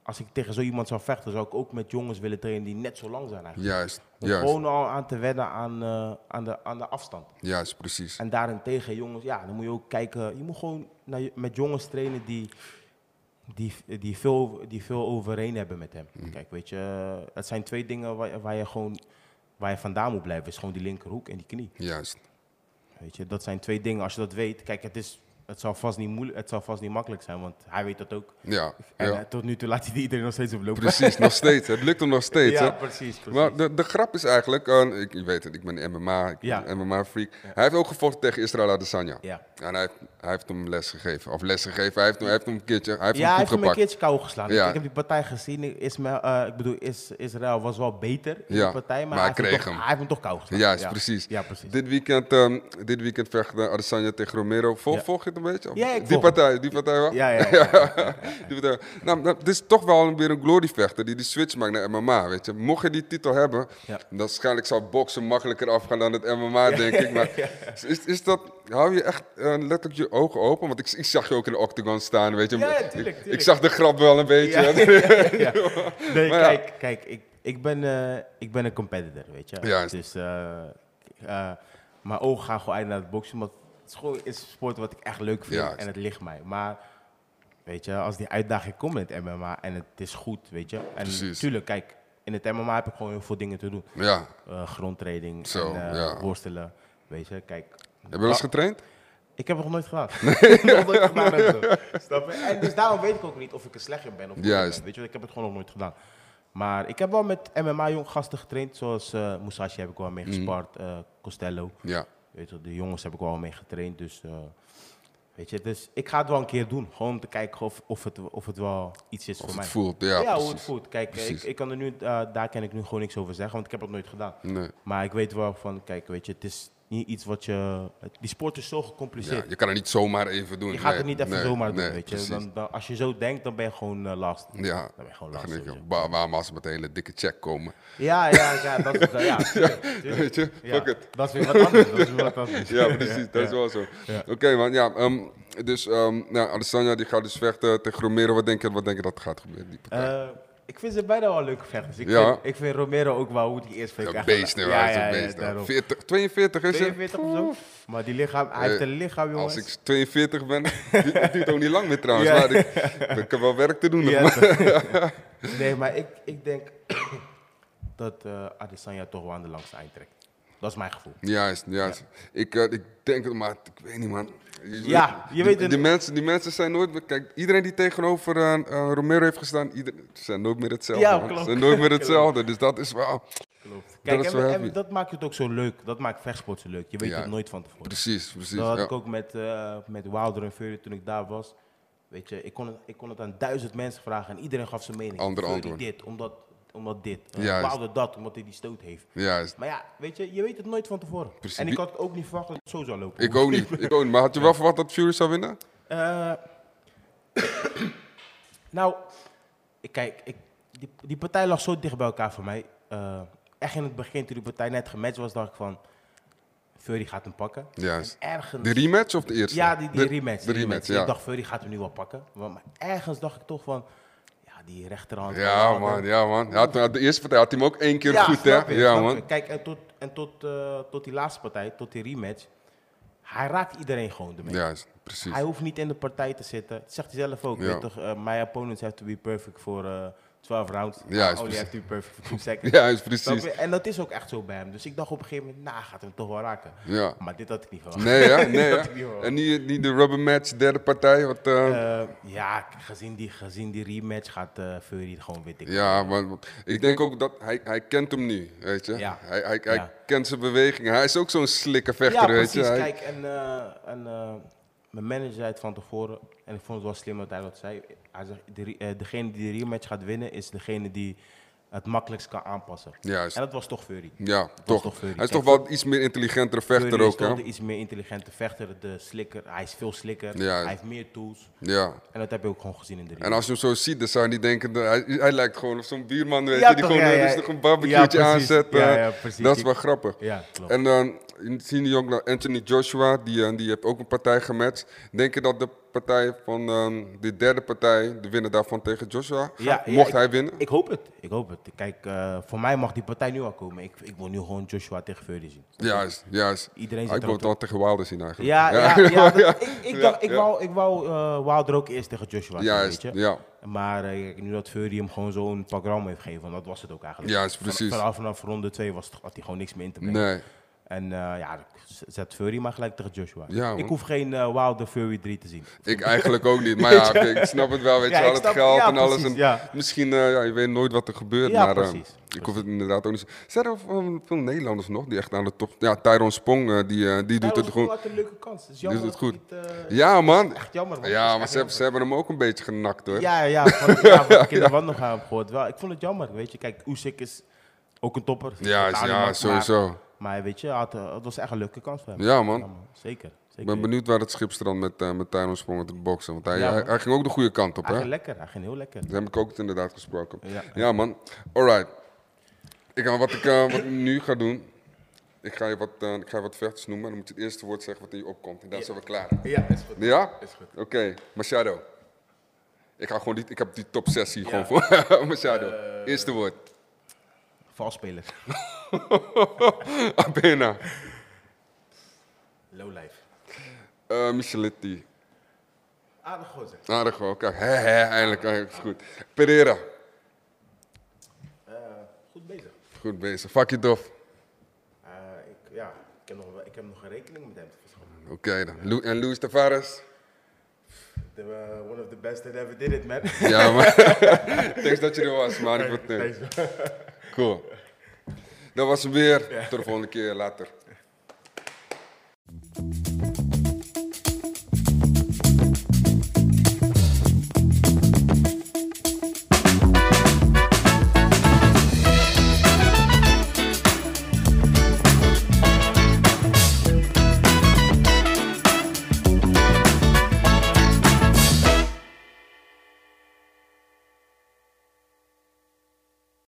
S3: als ik tegen zo iemand zou vechten, zou ik ook met jongens willen trainen die net zo lang zijn eigenlijk.
S1: Juist.
S3: Om
S1: Juist.
S3: Gewoon al aan te wennen aan, eh, aan, de, aan de afstand.
S1: Juist, precies.
S3: En daarentegen, jongens, ja, dan moet je ook kijken. Je moet gewoon naar, je- met jongens trainen die, die, die, veel, die veel overeen hebben met hem.
S1: Mhm.
S3: Kijk, weet je, dat zijn twee dingen waar, waar je gewoon waar je vandaan moet blijven. Is gewoon die linkerhoek en die knie.
S1: Juist.
S3: Weet je, dat zijn twee dingen. Als je dat weet, kijk, het, is, het, zal, vast niet moeilijk, het zal vast niet makkelijk zijn, want hij weet dat ook.
S1: Ja.
S3: En
S1: ja.
S3: eh, tot nu toe laat hij iedereen nog steeds oplopen.
S1: Precies, nog steeds. Het lukt hem nog steeds.
S3: Ja,
S1: hè?
S3: precies, precies.
S1: Maar de, de grap is eigenlijk, eh, ik, je weet het, ik ben MMA, ik
S3: Ja.
S1: ben MMA-freak. Hij heeft ook gevochten tegen Israël Adesanya.
S3: Ja.
S1: En hij, heeft- hij heeft hem les gegeven. Of les gegeven, hij heeft, hem- hij heeft hem een keertje, hij heeft
S3: Ja, hij
S1: hem
S3: heeft
S1: goed
S3: hem een
S1: gepakt.
S3: keertje kou geslagen.
S1: Ja.
S3: Ik heb die partij gezien. Ismael, eh, ik bedoel, is, Israël was wel beter in
S1: Ja,
S3: die partij, maar,
S1: maar
S3: hij,
S1: hij
S3: heeft
S1: kreeg
S3: toch,
S1: hem.
S3: hij heeft hem toch kou geslagen.
S1: Juist, precies.
S3: Ja, precies.
S1: Dit weekend, ehm, dit weekend vecht eh, Adesanya tegen Romero. Vol,
S3: Ja.
S1: Volg je het een beetje? Of-
S3: Ja, ik
S1: die
S3: volg
S1: partij, die partij wel?
S3: Ja, ja, ja.
S1: Die partij. Nou, nou, dit is toch wel weer een gloryvechter die die switch maakt naar MMA, weet je. Mocht je die titel hebben,
S3: Ja.
S1: dan waarschijnlijk zou boksen makkelijker afgaan dan het MMA, denk ik. Maar is, is dat, hou je echt eh, letterlijk je ogen open? Want ik, ik zag je ook in de octagon staan, weet je.
S3: Ja, ja, tuurlijk,
S1: Ik- Ik,
S3: tuurlijk.
S1: zag de grap wel een beetje.
S3: Ja.
S1: hè.
S3: Ja. Nee,
S1: Maar ja.
S3: kijk, kijk ik, ik, ben, eh, ik ben een competitor, weet je.
S1: Juist.
S3: Dus eh, eh, mijn ogen gaan gewoon uit naar het boksen, want het is gewoon een sport wat ik echt leuk vind
S1: Juist.
S3: en het ligt mij. Maar weet je, als die uitdaging komt in het MMA en het is goed, weet je. En
S1: Precies.
S3: tuurlijk, kijk, in het MMA heb ik gewoon heel veel dingen te doen.
S1: Ja.
S3: eh grondtreding,
S1: Zo,
S3: en, eh,
S1: ja.
S3: worstelen. Weet je, kijk.
S1: Heb je wel eens
S3: Ah,
S1: getraind?
S3: Ik heb het nog nooit gedaan. Ik heb nog nooit gedaan. heb ik. Snap je? En dus daarom weet ik ook niet of ik er slecht in ben of goed in ben,
S1: Juist.
S3: Weet je, ik heb het gewoon nog nooit gedaan. Maar ik heb wel met MMA-jong gasten getraind, zoals eh Musashi heb ik wel
S1: Mhm.
S3: mee gespart, eh, Costello.
S1: Ja.
S3: Weet je, de jongens heb ik wel mee getraind, dus... eh, weet je, dus ik ga het wel een keer doen. Gewoon om te kijken of, of, het, of het wel iets
S1: Of
S3: is voor
S1: het
S3: mij.
S1: voelt, ja,
S3: Ja, hoe
S1: precies.
S3: het voelt. Kijk, ik,
S1: Precies.
S3: ik kan er nu, eh, daar kan ik nu gewoon niks over zeggen, want ik heb het nooit gedaan.
S1: Nee.
S3: Maar ik weet wel van, kijk, weet je, het is niet iets wat je... het- Die sport is zo
S1: Ja,
S3: gecompliceerd.
S1: je kan het niet zomaar even doen.
S3: je gaat
S1: Nee,
S3: het niet even
S1: nee,
S3: zomaar doen,
S1: nee,
S3: weet je.
S1: precies.
S3: Dan, dan- als je zo denkt, dan ben je gewoon eh, last.
S1: Ja.
S3: Dan ben je gewoon
S1: Dan
S3: last.
S1: denk ik,
S3: sowieso.
S1: wa- waarom als ze met een hele dikke check komen?
S3: Ja, ja, ja, dat is... ja, tuurlijk, tuurlijk.
S1: Weet je,
S3: Ja,
S1: fuck it.
S3: Dat is weer wat anders. Dat is weer wat anders.
S1: Ja, precies, dat is wel zo. Oké man, ja, ehm, dus ehm nou, Adesanya die gaat dus vechten tegen Romero. Wat denk je, wat denk je dat gaat gebeuren? Die partij?
S3: Eh, ik vind ze beide wel leuke vechters. Ik,
S1: Ja.
S3: vind, ik vind Romero ook wel hoe die eerst vecht.
S1: ja, beest, hè, hij is een beest. hè. 40, 42 is het?
S3: 42 of zo. Maar die lichaam, hij heeft een lichaam, jongens.
S1: Eh, Als ik 42 ben, du- het duurt ook niet lang meer trouwens.
S3: Ja.
S1: Maar ik, ik heb wel werk te doen. nog,
S3: Ja,
S1: maar-
S3: toch. nee, maar ik, ik denk dat eh Adesanya toch wel aan de langste eind trekt. Dat is mijn gevoel.
S1: Juist, juist. Ik, eh, ik denk het, maar ik weet niet, man. Je-
S3: Ja, je
S1: die-
S3: weet
S1: die,
S3: het.
S1: mensen, die mensen zijn nooit... Kijk, iedereen die tegenover eh, eh, Romero heeft gestaan, ieder, ze zijn nooit meer hetzelfde.
S3: Ja,
S1: man. Ze
S3: klopt.
S1: zijn nooit meer hetzelfde. Dus dat is wel...
S3: Kijk,
S1: is
S3: en,
S1: wel
S3: en
S1: heavy.
S3: dat maakt het ook zo leuk. Dat maakt vechtsport zo leuk. Je weet
S1: Ja.
S3: het nooit van tevoren.
S1: Precies, precies.
S3: Dat had
S1: ja.
S3: ik ook met, eh, met Wilder en Fury toen ik daar was. Weet je, ik kon, het, ik kon het aan duizend mensen vragen en iedereen gaf zijn mening.
S1: Andere
S3: Fury
S1: antwoord.
S3: dit, omdat, omdat dit. Eh,
S1: Juist.
S3: Wilder dat, omdat hij die stoot heeft.
S1: Juist.
S3: Maar ja, weet je, je weet het nooit van tevoren.
S1: Precies.
S3: En ik
S1: Wie-
S3: had ook niet verwacht dat het zo zou lopen.
S1: Ik ook niet. Ik ook niet. Maar had je wel verwacht dat Fury zou winnen?
S3: Eh, nou, ik- kijk, ik, die, die partij lag zo dicht bij elkaar voor mij. Eh, echt in het begin, toen die partij net gematcht was, dacht ik van... Fury gaat hem pakken.
S1: Juist.
S3: En ergens...
S1: De rematch of de eerste?
S3: ja, die, die
S1: De-
S3: rematch.
S1: De
S3: die
S1: rematch,
S3: Ik
S1: ja.
S3: dacht, Fury gaat hem nu wel pakken. Maar, maar ergens dacht ik toch van... Ja, die rechterhand...
S1: Ja, man, ja, man. Hij Had, had de eerste partij had hij hem ook één keer goed, hè?
S3: snap je,
S1: ja,
S3: snap
S1: man.
S3: je. Kijk, en, tot, en tot, eh, tot die laatste partij, tot die rematch... Hij raakt iedereen gewoon ermee.
S1: Juist, precies.
S3: Hij hoeft niet in de partij te zitten. Dat zegt hij zelf ook.
S1: Dus- Ja.
S3: Weet toch, eh, my opponents have to be perfect for eh 12 rounds. Oh,
S1: Ja, is
S3: I only
S1: precies.
S3: have to be perfect for 2 seconds.
S1: Ja, is
S3: Snap
S1: precies.
S3: je? En dat is ook echt zo bij hem. Dus ik dacht op een gegeven moment, nou, hij gaat hem toch wel raken.
S1: Ja.
S3: Maar dit had ik niet verwacht.
S1: Nee, hè? Nee,
S3: had ik niet
S1: hè?
S3: verwacht.
S1: En niet, niet de rubber match, derde partij. Wat, eh,
S3: Eh, ja, gezien die, gezien die rematch gaat eh Fury het gewoon weer dikken.
S1: Ja, maar ik denk ook dat hij, hij kent hem nu, weet je.
S3: Ja.
S1: Hij, hij, hij
S3: Ja.
S1: kent zijn bewegingen. Hij is ook zo'n slikke vechter,
S3: Ja,
S1: weet
S3: precies.
S1: je. Hij-
S3: Kijk, en, eh, en eh, mijn manager zei het van tevoren, en ik vond het wel slim dat hij dat zei. Hij zegt, de re- eh, degene die de rematch gaat winnen, is degene die het makkelijkst kan aanpassen.
S1: Juist.
S3: En dat was toch Fury.
S1: ja,
S3: was
S1: toch.
S3: toch Fury.
S1: hij is
S3: Kijk,
S1: toch wel iets meer intelligentere vechter
S3: Fury is
S1: ook, hè?
S3: toch de iets meer intelligente vechter, de slikker. Hij is veel slikker,
S1: Ja.
S3: hij heeft meer tools.
S1: Ja.
S3: En dat heb je ook gewoon gezien in de
S1: En
S3: ring.
S1: als je hem zo ziet, dan zou je niet denken... dat Hij, hij lijkt gewoon op zo'n buurman, weet
S3: Ja,
S1: je. Die
S3: toch,
S1: gewoon
S3: ja,
S1: eh,
S3: ja.
S1: rustig een barbecueetje
S3: Ja, precies.
S1: aanzet. eh,
S3: Ja, ja, precies.
S1: Dat is
S3: Ik-
S1: wel grappig.
S3: Ja, klopt.
S1: En dan zien jullie ook nog Anthony Joshua, die, eh, die heeft ook een partij gematcht. Denk je dat de partij van ehm, de derde partij, de winnaar daarvan tegen Joshua, gaat?
S3: Ja, ja,
S1: mocht
S3: ik-
S1: hij winnen?
S3: Ik hoop het, ik hoop het. Kijk, eh, voor mij mag die partij nu al komen. Ik, ik wil nu gewoon Joshua tegen Fury zien.
S1: Juist, juist.
S3: Iedereen
S1: Ah,
S3: zit
S1: ik wil
S3: erop
S1: het wel tegen Wilder zien eigenlijk.
S3: Ja, ja, ja, dat-
S1: Ja.
S3: ik, ik,
S1: Ja,
S3: dacht, ik
S1: ja.
S3: wou, ik wou eh, Wilder ook eerst tegen Joshua zien,
S1: Juist,
S3: weet je.
S1: ja.
S3: Maar eh, nu dat Fury hem gewoon zo'n pak ram heeft gegeven, want dat was het ook eigenlijk.
S1: Juist,
S3: Van-
S1: precies.
S3: Vanaf, vanaf ronde 2 was, het- had hij gewoon niks meer in te brengen.
S1: Nee,
S3: En eh, ja, zet Fury maar gelijk tegen Joshua.
S1: Ja, man.
S3: ik hoef geen eh, Wilder Fury 3 te zien.
S1: ik eigenlijk ook niet. Maar ja, ik snap het wel, weet
S3: Ja,
S1: je, al
S3: ik
S1: het
S3: snap-
S1: geld
S3: ja,
S1: en alles.
S3: precies,
S1: en
S3: ja.
S1: Misschien, eh, ja, je weet nooit wat er gebeurt.
S3: Ja,
S1: maar, eh,
S3: precies,
S1: Ik hoef het inderdaad ook niet. Zijn er veel, veel Nederlanders nog die echt aan de top... Ja, Tyrone Spong, eh, die, eh, die doet het
S3: Hij
S1: gewoon...
S3: had een leuke kans. Het is
S1: Die
S3: jammer
S1: doet het
S3: dat
S1: goed.
S3: het niet, eh,
S1: Ja, man.
S3: echt jammer. want het
S1: Ja,
S3: is
S1: maar
S3: echt
S1: ze, hebben- ze
S3: jammer.
S1: hebben hem ook een beetje genakt, hoor.
S3: Ja, ja, want, ja, want ik in de wandelgang heb gehoord. Wel, ik vond het jammer, weet je. Kijk, Usyk is ook een topper.
S1: Ja,
S3: Totale
S1: ja,
S3: man, maar-
S1: sowieso.
S3: Maar weet je, hij had, eh, het was echt een leuke kans voor hem.
S1: Ja, man.
S3: Zeker.
S1: Ik
S3: zeker.
S1: ben benieuwd waar het schip strandt met, eh met Tyrone Spong met het boksen. Want hij,
S3: Ja,
S1: hij,
S3: man.
S1: hij ging ook de goede kant op,
S3: Hij
S1: hè?
S3: ging lekker, hij ging heel lekker.
S1: Daar heb ik ook het inderdaad gesproken. Ja,
S3: Ja.
S1: man. Alright. Ik, ga- wat, ik, eh, wat ik nu ga doen. Ik ga je wat, eh, ik ga je wat vechters noemen. Dan moet je het eerste woord zeggen wat in je opkomt. En dan zijn we klaar.
S3: Ja, is goed.
S1: Ja? Oké, Machado. Ik, ga gewoon die, ik heb die top 6 hier gewoon voor. Machado.
S3: Eh.
S1: Eerste woord.
S3: Valspeler.
S1: Abena.
S3: Low life.
S1: Eh Micheletti.
S3: Aardig gozer.
S1: Aardig wel. Kijk, hè, hè, eindelijk. eindelijk is goed. Pereira.
S3: Goed bezig.
S1: Goed bezig. Fuck it off.
S3: Eh, ik, ja, ik heb, nog, wel- ik heb nog een rekening met hem te verschaffen.
S1: Oké dan. Lu- en Luis Tavares.
S3: The, eh, one of the best that ever did it, man.
S1: Ja, man. Thanks dat je er was, man. Ik vond het
S3: Thanks.
S1: Cool. Dat was hem weer. Tot de volgende keer. Later.